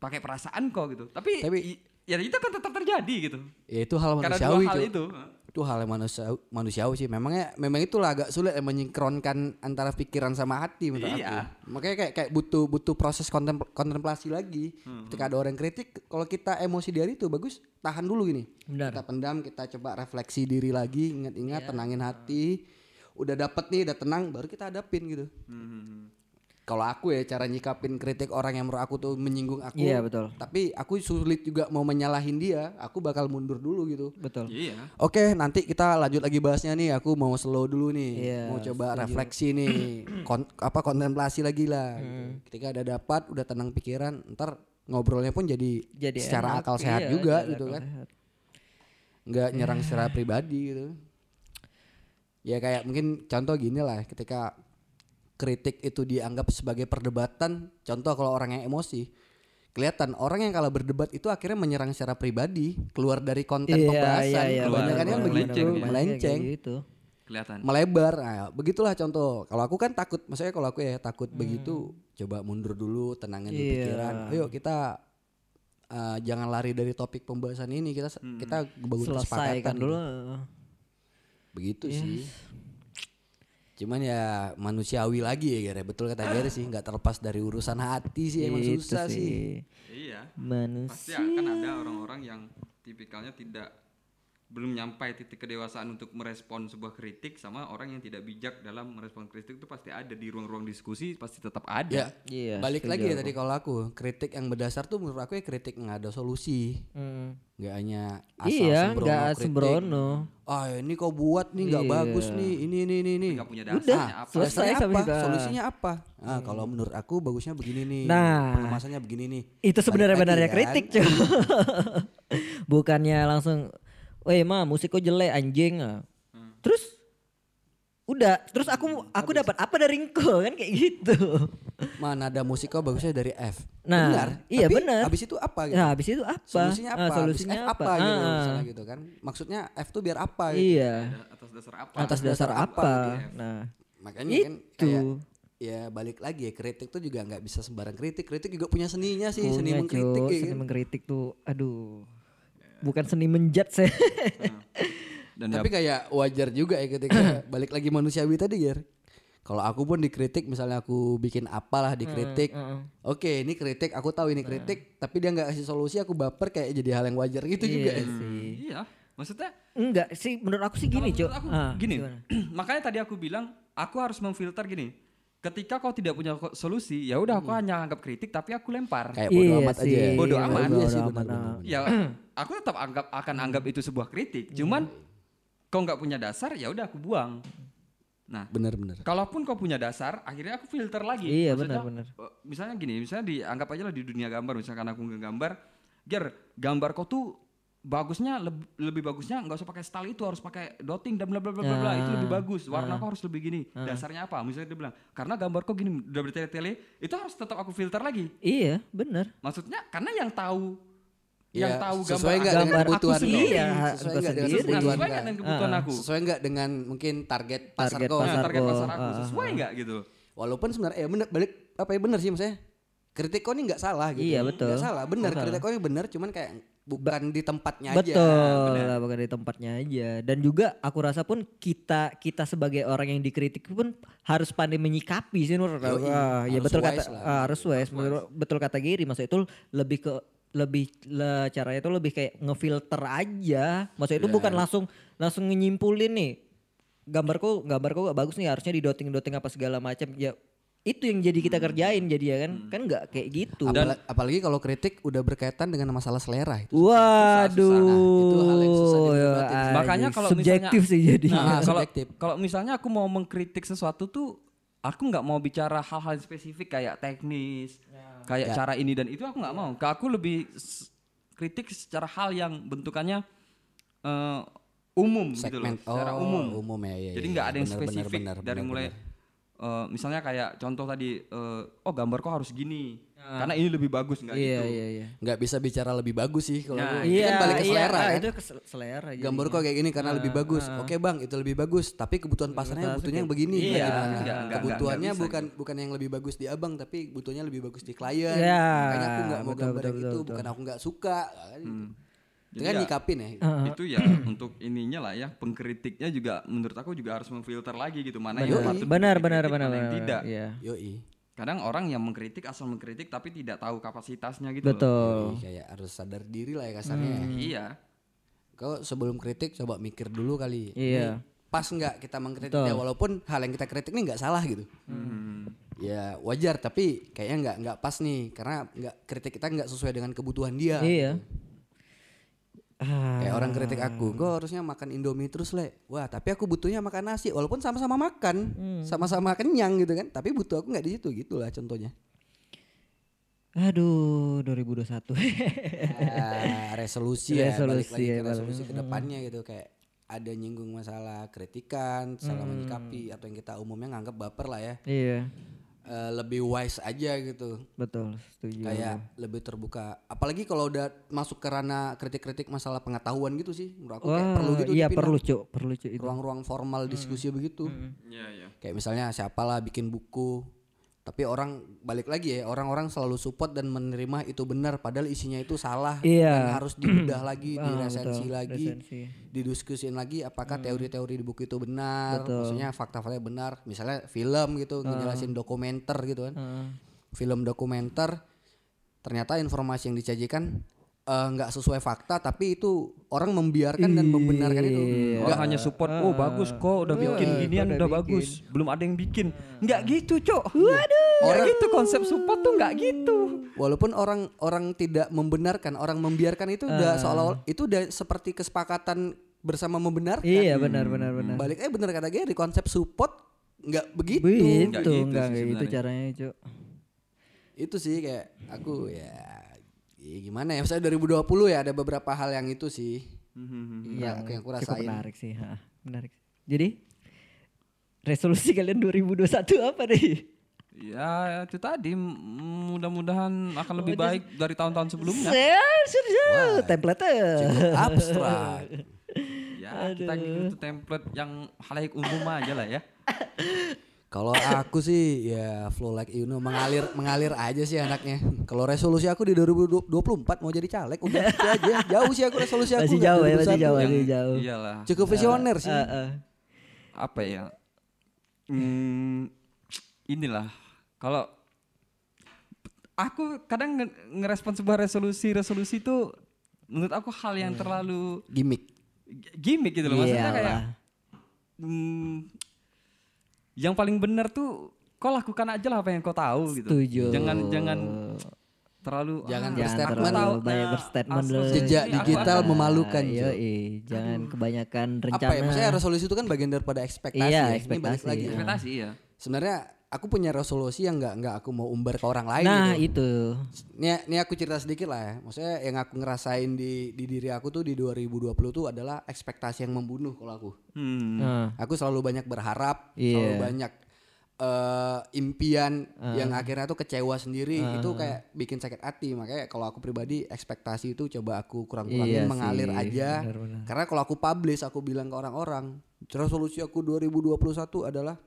[SPEAKER 3] pakai perasaan kok gitu. Tapi,
[SPEAKER 2] Tapi-
[SPEAKER 3] i- ya itu akan tetap terjadi gitu.
[SPEAKER 2] Ya itu hal
[SPEAKER 3] Karena dua
[SPEAKER 2] manusiawi
[SPEAKER 3] hal
[SPEAKER 2] Cuk.
[SPEAKER 3] itu.
[SPEAKER 2] itu hal yang manusia manusiawi sih memangnya memang itulah agak sulit ya menyingkronkan antara pikiran sama hati menurut
[SPEAKER 3] Iya.
[SPEAKER 2] aku makanya kayak kayak butuh butuh proses kontem- kontemplasi lagi
[SPEAKER 1] Hmm.
[SPEAKER 2] ketika ada orang kritik kalau kita emosi dari itu bagus tahan dulu gini
[SPEAKER 1] Benar. Iya.
[SPEAKER 2] kita pendam kita coba refleksi diri lagi ingat-ingat tenangin hati udah dapet nih udah tenang baru kita hadapin gitu
[SPEAKER 1] Hmm,
[SPEAKER 3] Mhm.
[SPEAKER 2] kalau aku ya cara nyikapin kritik orang yang menurut aku tuh menyinggung aku
[SPEAKER 1] Iya, betul.
[SPEAKER 2] tapi aku sulit juga mau menyalahin dia aku bakal mundur dulu gitu
[SPEAKER 1] betul
[SPEAKER 3] Iya.
[SPEAKER 2] Oke, nanti kita lanjut lagi bahasnya nih. Aku mau slow dulu nih.
[SPEAKER 1] Iya,
[SPEAKER 2] mau coba refleksi
[SPEAKER 1] Hmm.
[SPEAKER 2] nih. Kon- apa kontemplasi lagi lah. gitu. Ketika ada dapat, udah tenang pikiran, ntar ngobrolnya pun jadi,
[SPEAKER 1] Jadi enak,
[SPEAKER 2] secara akal
[SPEAKER 1] iya,
[SPEAKER 2] sehat juga
[SPEAKER 1] secara
[SPEAKER 2] gitu
[SPEAKER 1] akal
[SPEAKER 2] kan
[SPEAKER 1] sehat.
[SPEAKER 2] nggak nyerang
[SPEAKER 1] Iya.
[SPEAKER 2] secara pribadi gitu ya kayak mungkin contoh gini lah ketika kritik itu dianggap sebagai perdebatan contoh kalau orang yang emosi kelihatan orang yang kalau berdebat itu akhirnya menyerang secara pribadi keluar dari konten
[SPEAKER 1] Iya,
[SPEAKER 2] pembahasan
[SPEAKER 1] iya, iya,
[SPEAKER 2] kebanyakan
[SPEAKER 1] benar,
[SPEAKER 2] kan
[SPEAKER 3] keluar,
[SPEAKER 1] benar,
[SPEAKER 2] begitu
[SPEAKER 3] melenceng
[SPEAKER 1] benar,
[SPEAKER 3] ya.
[SPEAKER 2] melenceng
[SPEAKER 1] kayak gitu.
[SPEAKER 3] kelihatan
[SPEAKER 2] melebar nah, begitulah contoh kalau aku kan takut maksudnya kalau aku ya takut begitu coba mundur dulu tenangin dulu
[SPEAKER 1] Hmm. Iya.
[SPEAKER 2] pikiran ayo kita eh, jangan lari dari topik pembahasan ini kita kita bangun
[SPEAKER 1] Hmm. Selesaikan
[SPEAKER 2] kesepakatan
[SPEAKER 1] kan
[SPEAKER 2] gitu.
[SPEAKER 1] dulu. Iya.
[SPEAKER 2] begitu sih cuman ya manusiawi lagi ya Gere betul kata Gere sih nggak terlepas dari urusan hati sih Iya, emang
[SPEAKER 1] Gitu
[SPEAKER 2] susah sih.
[SPEAKER 3] iya pasti
[SPEAKER 1] Manusia.
[SPEAKER 3] akan ada orang-orang yang tipikalnya tidak belum nyampai titik kedewasaan untuk merespon sebuah kritik sama orang yang tidak bijak dalam merespon kritik itu pasti ada di ruang-ruang diskusi pasti tetap
[SPEAKER 2] ya
[SPEAKER 3] ada
[SPEAKER 1] Iya,
[SPEAKER 2] balik lagi ya
[SPEAKER 1] setuju
[SPEAKER 2] tadi kalau aku kritik yang berdasar tuh menurut aku ya kritik nggak ada solusi
[SPEAKER 1] Hmm.
[SPEAKER 2] nggak hanya asal
[SPEAKER 1] Iya,
[SPEAKER 2] sembrono
[SPEAKER 1] nggak
[SPEAKER 2] kritik.
[SPEAKER 1] sembrono.
[SPEAKER 2] ah ini kau buat nih nggak bagus nih ini ini ini ini
[SPEAKER 3] nggak punya dasarnya
[SPEAKER 2] Ah,
[SPEAKER 3] apa
[SPEAKER 1] Iya. selesai
[SPEAKER 2] dasarnya
[SPEAKER 1] sampai
[SPEAKER 2] apa
[SPEAKER 1] situ.
[SPEAKER 2] solusinya apa ah kalau menurut aku bagusnya begini nih
[SPEAKER 1] Nah.
[SPEAKER 2] pengemasannya begini nih
[SPEAKER 1] Itu sebenarnya
[SPEAKER 2] Balik lagi
[SPEAKER 1] benarnya
[SPEAKER 2] kan.
[SPEAKER 1] kritik, cuy. Bukannya langsung, "Weh, ma, musik kok jelek anjing."
[SPEAKER 3] Hmm.
[SPEAKER 1] Terus udah, terus
[SPEAKER 2] Hmm,
[SPEAKER 1] aku aku dapat apa dari engkau kan kayak gitu.
[SPEAKER 2] mana ada musik kau bagusnya dari F
[SPEAKER 1] Nah,
[SPEAKER 2] benar
[SPEAKER 1] iya,
[SPEAKER 2] tapi
[SPEAKER 1] benar.
[SPEAKER 2] abis itu apa gitu
[SPEAKER 1] Nah, habis itu apa?
[SPEAKER 2] solusinya apa
[SPEAKER 1] Ah,
[SPEAKER 2] Abis
[SPEAKER 1] solusinya
[SPEAKER 2] F
[SPEAKER 1] apa?
[SPEAKER 2] apa, gitu
[SPEAKER 1] Ah,
[SPEAKER 2] misalnya gitu kan maksudnya F tuh biar apa gitu.
[SPEAKER 1] Iya.
[SPEAKER 3] Ada atas dasar apa
[SPEAKER 1] Atas dasar apa? Nah,
[SPEAKER 2] makanya kan
[SPEAKER 1] Itu.
[SPEAKER 2] gitu ya. kayak ya balik lagi ya kritik tuh juga nggak bisa sembarang kritik kritik juga punya seninya sih seni
[SPEAKER 1] punya,
[SPEAKER 2] mengkritik
[SPEAKER 1] cuy.
[SPEAKER 2] ya
[SPEAKER 1] seni
[SPEAKER 2] kan.
[SPEAKER 1] mengkritik tuh aduh. Bukan seni menjat saya.
[SPEAKER 3] Nah. dan
[SPEAKER 2] Tapi kayak wajar juga ya ketika balik lagi manusiawi tadi ya. Kalau aku pun dikritik misalnya aku bikin apalah dikritik.
[SPEAKER 1] Hmm,
[SPEAKER 2] Oke, ini kritik, aku tahu ini kritik, tapi dia nggak kasih solusi, aku baper kayak jadi hal yang wajar gitu juga. ya.
[SPEAKER 3] iya maksudnya
[SPEAKER 1] Enggak sih menurut aku sih gini, Cuk.
[SPEAKER 3] menurut aku
[SPEAKER 1] Ah,
[SPEAKER 3] gini makanya tadi aku bilang aku harus memfilter gini ketika kau tidak punya ko- solusi ya udah aku
[SPEAKER 1] Hmm.
[SPEAKER 3] hanya anggap kritik tapi aku lempar
[SPEAKER 2] Kayak bodo
[SPEAKER 1] Iya
[SPEAKER 2] amat aja.
[SPEAKER 1] sih,
[SPEAKER 2] ya.
[SPEAKER 3] Bodo amat.
[SPEAKER 2] Iya
[SPEAKER 1] bodo
[SPEAKER 2] sih
[SPEAKER 1] amat,
[SPEAKER 2] benar-benar.
[SPEAKER 3] ya aku tetap anggap akan
[SPEAKER 1] Hmm.
[SPEAKER 3] anggap itu sebuah kritik cuman kau nggak punya dasar ya udah aku buang nah
[SPEAKER 2] Benar-benar.
[SPEAKER 3] kalaupun kau punya dasar akhirnya aku filter lagi
[SPEAKER 1] Iya,
[SPEAKER 3] Maksudnya,
[SPEAKER 1] benar, benar.
[SPEAKER 3] eh, misalnya gini misalnya dianggap aja lah di dunia gambar misalkan aku nggak gambar ger gambar kau tuh bagusnya leb- lebih bagusnya nggak usah pakai style itu harus pakai dotting dan bla bla bla bla bla itu
[SPEAKER 1] Ah,
[SPEAKER 3] lebih bagus warna kau harus lebih gini dasarnya apa misalnya dia bilang karena gambar kau gini udah bertele-tele itu harus tetap aku filter lagi
[SPEAKER 1] Iya, benar.
[SPEAKER 3] maksudnya karena yang tahu yang
[SPEAKER 2] Ya,
[SPEAKER 3] tahu
[SPEAKER 2] sesuai
[SPEAKER 3] gambar
[SPEAKER 2] nggak
[SPEAKER 3] aku-
[SPEAKER 2] dengan
[SPEAKER 1] gambar
[SPEAKER 2] kebutuhan
[SPEAKER 1] aku
[SPEAKER 2] kau?
[SPEAKER 1] sendiri. Iya,
[SPEAKER 2] sesuai
[SPEAKER 1] aku
[SPEAKER 2] nggak dengan
[SPEAKER 1] sendiri.
[SPEAKER 2] kebutuhan
[SPEAKER 3] Nah, sesuai nggak
[SPEAKER 2] kau?
[SPEAKER 3] dengan
[SPEAKER 1] Ah,
[SPEAKER 3] kebutuhan aku
[SPEAKER 2] Sesuai nggak dengan mungkin target pasar
[SPEAKER 1] Target
[SPEAKER 2] kau?
[SPEAKER 1] pasar
[SPEAKER 3] Nah, target
[SPEAKER 1] kau,
[SPEAKER 3] pasar aku
[SPEAKER 1] ah, ah,
[SPEAKER 3] sesuai nggak gitu loh
[SPEAKER 2] Walaupun sebenarnya ya bener balik apa ya bener sih maksudnya. Kritik kau ini nggak salah gitu.
[SPEAKER 1] Iya, betul.
[SPEAKER 2] Nggak salah, bener. Kritik kau ini bener, cuman kayak bukan di tempatnya aja.
[SPEAKER 1] Betul, lah, bukan di tempatnya aja. Dan juga aku rasa pun kita kita sebagai orang yang dikritik pun harus pandai menyikapi sih menurut aku.
[SPEAKER 2] Yoi,
[SPEAKER 1] Ah, ya
[SPEAKER 2] harus
[SPEAKER 1] betul kata
[SPEAKER 2] wise lah.
[SPEAKER 1] ah, harus wise, menurut- betul kata Giri maksudnya itu lebih ke lebih le- caranya itu lebih kayak ngefilter aja. Maksudnya
[SPEAKER 2] Iya.
[SPEAKER 1] itu bukan langsung langsung nyimpulin nih. Gambarku gambarku gak bagus nih harusnya didoting-doting apa segala macam. Ya itu yang jadi
[SPEAKER 2] Hmm.
[SPEAKER 1] kita kerjain jadi ya kan. Kan nggak kayak gitu.
[SPEAKER 2] Apala- apalagi kalau kritik udah berkaitan dengan masalah selera itu.
[SPEAKER 1] Waduh.
[SPEAKER 2] Itu hal yang susah diperdebatin
[SPEAKER 1] anjing.
[SPEAKER 2] sih.
[SPEAKER 3] Makanya kalau
[SPEAKER 1] ya subjektif
[SPEAKER 3] misalnya-
[SPEAKER 1] sih jadi.
[SPEAKER 3] Nah, kalau
[SPEAKER 2] subjektif.
[SPEAKER 3] kalau misalnya aku mau mengkritik sesuatu tuh aku nggak mau bicara hal-hal yang spesifik kayak teknis,
[SPEAKER 2] Ya.
[SPEAKER 3] kayak cara ini dan itu aku nggak mau. Ke aku lebih s- kritik secara hal yang bentukannya eh, umum gitu loh,
[SPEAKER 2] Segmen
[SPEAKER 3] secara
[SPEAKER 2] oh,
[SPEAKER 3] umum.
[SPEAKER 2] umum ya, ya,
[SPEAKER 3] Jadi
[SPEAKER 2] ya,
[SPEAKER 3] nggak ada yang
[SPEAKER 2] benar, benar,
[SPEAKER 3] spesifik
[SPEAKER 2] benar,
[SPEAKER 3] dari
[SPEAKER 2] benar,
[SPEAKER 3] mulai
[SPEAKER 2] benar.
[SPEAKER 3] eh, misalnya kayak contoh tadi eh, oh gambar kok harus gini
[SPEAKER 2] Ya.
[SPEAKER 3] karena ini lebih bagus
[SPEAKER 2] Nah,
[SPEAKER 3] nggak
[SPEAKER 1] Iya
[SPEAKER 3] gitu.
[SPEAKER 1] iya iya.
[SPEAKER 2] nggak bisa bicara lebih bagus sih kalau
[SPEAKER 3] Nah,
[SPEAKER 2] aku. itu kan balik ke selera
[SPEAKER 1] iya,
[SPEAKER 2] kan.
[SPEAKER 1] Itu ke sel- selera jadi.
[SPEAKER 2] Gambar kok gitu. kayak gini karena lebih bagus. Oke bang, itu lebih bagus. Tapi kebutuhan pasarnya butuhnya yang begini.
[SPEAKER 1] Iya,
[SPEAKER 2] Bagaimana?
[SPEAKER 3] enggak, enggak, enggak,
[SPEAKER 2] kebutuhannya
[SPEAKER 3] enggak bisa
[SPEAKER 2] bukan bukan yang lebih bagus di abang, tapi butuhnya lebih bagus di klien.
[SPEAKER 1] Iya,
[SPEAKER 2] Makanya aku nggak mau
[SPEAKER 1] betul,
[SPEAKER 2] gambar yang
[SPEAKER 1] betul,
[SPEAKER 2] itu.
[SPEAKER 1] betul.
[SPEAKER 2] Bukan aku nggak suka. Kan gitu. Itu
[SPEAKER 3] Hmm. Jadi
[SPEAKER 2] kan
[SPEAKER 3] ya-
[SPEAKER 2] nyikapin ya.
[SPEAKER 3] itu ya untuk ininya lah ya pengkritiknya juga menurut aku juga harus memfilter lagi gitu
[SPEAKER 1] Benar,
[SPEAKER 3] mana yang patut
[SPEAKER 1] benar benar
[SPEAKER 3] dikritik,
[SPEAKER 1] benar.
[SPEAKER 3] mana yang
[SPEAKER 1] benar,
[SPEAKER 3] tidak
[SPEAKER 1] Iya.
[SPEAKER 2] Yoi.
[SPEAKER 3] kadang orang yang mengkritik asal mengkritik tapi tidak tahu kapasitasnya gitu loh.
[SPEAKER 1] Betul.
[SPEAKER 2] Yoi, Kayak harus sadar diri lah ya kasarnya. ya.
[SPEAKER 3] iya
[SPEAKER 2] Kau sebelum kritik coba mikir dulu kali.
[SPEAKER 1] Iya.
[SPEAKER 2] Ini Pas nggak kita mengkritik ya walaupun hal yang kita kritik ini nggak salah gitu. Ya wajar tapi kayaknya nggak nggak pas nih karena nggak kritik kita nggak sesuai dengan kebutuhan dia.
[SPEAKER 1] Iya. Ah,
[SPEAKER 2] Kayak orang kritik aku, kok harusnya makan Indomie terus le. Wah tapi aku butuhnya makan nasi walaupun sama-sama
[SPEAKER 1] Hmm.
[SPEAKER 2] gitu makan, sama-sama kenyang gitu kan. Tapi butuh aku nggak di situ gitulah contohnya.
[SPEAKER 1] Aduh, 2021.
[SPEAKER 2] Ah, resolusi ya balik
[SPEAKER 1] Resolusi
[SPEAKER 2] lagi
[SPEAKER 1] ya,
[SPEAKER 2] ke
[SPEAKER 1] balik.
[SPEAKER 2] resolusi ke depannya gitu kayak ada nyinggung masalah kritikan salah
[SPEAKER 1] Hmm.
[SPEAKER 2] menyikapi atau yang kita umumnya nganggap baper lah ya
[SPEAKER 1] iya,
[SPEAKER 2] Eh, lebih wise aja gitu
[SPEAKER 1] betul, setuju.
[SPEAKER 2] kayak lebih terbuka apalagi kalau udah masuk ke ranah kritik-kritik masalah pengetahuan gitu sih menurut aku kayak
[SPEAKER 1] Wah,
[SPEAKER 2] perlu gitu
[SPEAKER 1] iya
[SPEAKER 2] dipindah.
[SPEAKER 1] perlu Hmm. cuk, perlu cuk itu.
[SPEAKER 2] ruang-ruang formal diskusi begitu
[SPEAKER 3] Iya, iya.
[SPEAKER 2] kayak misalnya siapalah bikin buku tapi orang balik lagi ya orang-orang selalu support dan menerima itu benar padahal isinya itu salah
[SPEAKER 1] Iya.
[SPEAKER 2] dan harus dibedah lagi
[SPEAKER 1] Ah,
[SPEAKER 2] diresensi
[SPEAKER 1] betul, Hmm.
[SPEAKER 2] lagi
[SPEAKER 1] resensi.
[SPEAKER 2] didiskusin lagi apakah teori-teori di buku itu benar maksudnya fakta-fakta benar misalnya film gitu
[SPEAKER 1] Ah.
[SPEAKER 2] ngejelasin dokumenter gitu kan
[SPEAKER 1] Heeh.
[SPEAKER 2] film dokumenter ternyata informasi yang disajikan eh, nggak sesuai fakta tapi itu orang membiarkan dan
[SPEAKER 1] Iya.
[SPEAKER 2] membenarkan itu
[SPEAKER 3] Orang hanya support, oh bagus kok udah bikin ginian udah bagus. Belum ada yang bikin. Nggak gitu, Cok. Waduh. Nggak gitu konsep support tuh nggak gitu.
[SPEAKER 2] Walaupun orang orang tidak membenarkan, orang membiarkan itu
[SPEAKER 1] Ah.
[SPEAKER 2] udah seolah-olah itu udah seperti kesepakatan bersama membenarkan.
[SPEAKER 1] Iya, benar benar benar.
[SPEAKER 2] Balik eh bener kata Gary konsep support nggak begitu.
[SPEAKER 3] Nggak
[SPEAKER 1] Begitu,
[SPEAKER 3] gitu
[SPEAKER 1] enggak kayak
[SPEAKER 3] sih
[SPEAKER 1] gitu
[SPEAKER 3] sebenarnya.
[SPEAKER 1] caranya, Cuk.
[SPEAKER 2] Itu sih kayak aku ya, ya gimana ya? Saya 2020 ya ada beberapa hal yang itu sih. Iya,
[SPEAKER 1] Yang
[SPEAKER 2] aku- yang aku
[SPEAKER 1] cukup
[SPEAKER 2] rasain.
[SPEAKER 1] menarik sih, ha, menarik. Jadi resolusi kalian 2021 apa nih?
[SPEAKER 3] Ya itu tadi mm, mudah-mudahan akan lebih baik dari tahun-tahun sebelumnya.
[SPEAKER 1] Saya sudah template.
[SPEAKER 2] Cukup abstrak.
[SPEAKER 3] Ya kita ngikutin template yang halayak umum aja lah ya.
[SPEAKER 2] Kalau aku sih ya flow like you know mengalir mengalir aja sih anaknya. Kalau resolusi aku di 2024 mau jadi caleg udah itu aja. Jauh sih aku resolusi aku.
[SPEAKER 1] Masih
[SPEAKER 2] nggak
[SPEAKER 1] jauh ya, Eh, masih
[SPEAKER 2] 2021.
[SPEAKER 1] jauh,
[SPEAKER 3] Yang-
[SPEAKER 1] masih jauh.
[SPEAKER 3] Iyalah.
[SPEAKER 2] Cukup visioner sih.
[SPEAKER 1] Heeh.
[SPEAKER 3] apa ya Hmm, inilah kalau aku kadang nge- ngerespon sebuah resolusi resolusi itu menurut aku hal yang terlalu
[SPEAKER 2] Gimik.
[SPEAKER 3] gi- gimmick
[SPEAKER 1] Iya,
[SPEAKER 3] gitu loh maksudnya kayak
[SPEAKER 1] Iyalah.
[SPEAKER 3] hmm, yang paling benar tuh kau lakukan aja lah apa yang kau tahu gitu
[SPEAKER 1] Setuju.
[SPEAKER 3] jangan jangan terlalu
[SPEAKER 2] Jangan
[SPEAKER 3] "Ah,
[SPEAKER 1] Jangan
[SPEAKER 2] Berstatement.
[SPEAKER 1] terlalu
[SPEAKER 3] tahu,
[SPEAKER 1] banyak
[SPEAKER 3] nah,
[SPEAKER 1] berstatement
[SPEAKER 3] asal
[SPEAKER 1] loh.
[SPEAKER 3] segini
[SPEAKER 2] Jejak
[SPEAKER 3] aku
[SPEAKER 2] digital
[SPEAKER 3] akan-
[SPEAKER 2] memalukan, Jo.
[SPEAKER 1] Yoi, jangan kebanyakan rencana.
[SPEAKER 2] Apa ya? Maksudnya resolusi itu kan bagian daripada
[SPEAKER 1] Iya,
[SPEAKER 2] ekspektasi. ya. Ini balik
[SPEAKER 1] ekspektasi.
[SPEAKER 2] lagi.
[SPEAKER 1] Iya.
[SPEAKER 3] ekspektasi ya
[SPEAKER 2] Sebenarnya aku punya resolusi yang nggak nggak aku mau umbar ke orang lain.
[SPEAKER 1] Nah,
[SPEAKER 2] gitu.
[SPEAKER 1] itu.
[SPEAKER 2] Ini, ini aku cerita sedikit lah ya. Maksudnya yang aku ngerasain di di diri aku tuh di 2020 tuh adalah ekspektasi yang membunuh kalau aku.
[SPEAKER 3] Hmm.
[SPEAKER 1] Nah,
[SPEAKER 2] Aku selalu banyak berharap, selalu
[SPEAKER 1] Iya.
[SPEAKER 2] banyak eh, impian yang akhirnya tuh kecewa sendiri itu kayak bikin sakit hati. Makanya kalau aku pribadi ekspektasi itu coba aku
[SPEAKER 1] Iya
[SPEAKER 2] kurang-kurangin mengalir
[SPEAKER 1] sih,
[SPEAKER 2] aja.
[SPEAKER 1] benar-benar.
[SPEAKER 2] Karena kalau aku publish aku bilang ke orang-orang, resolusi aku 2021 adalah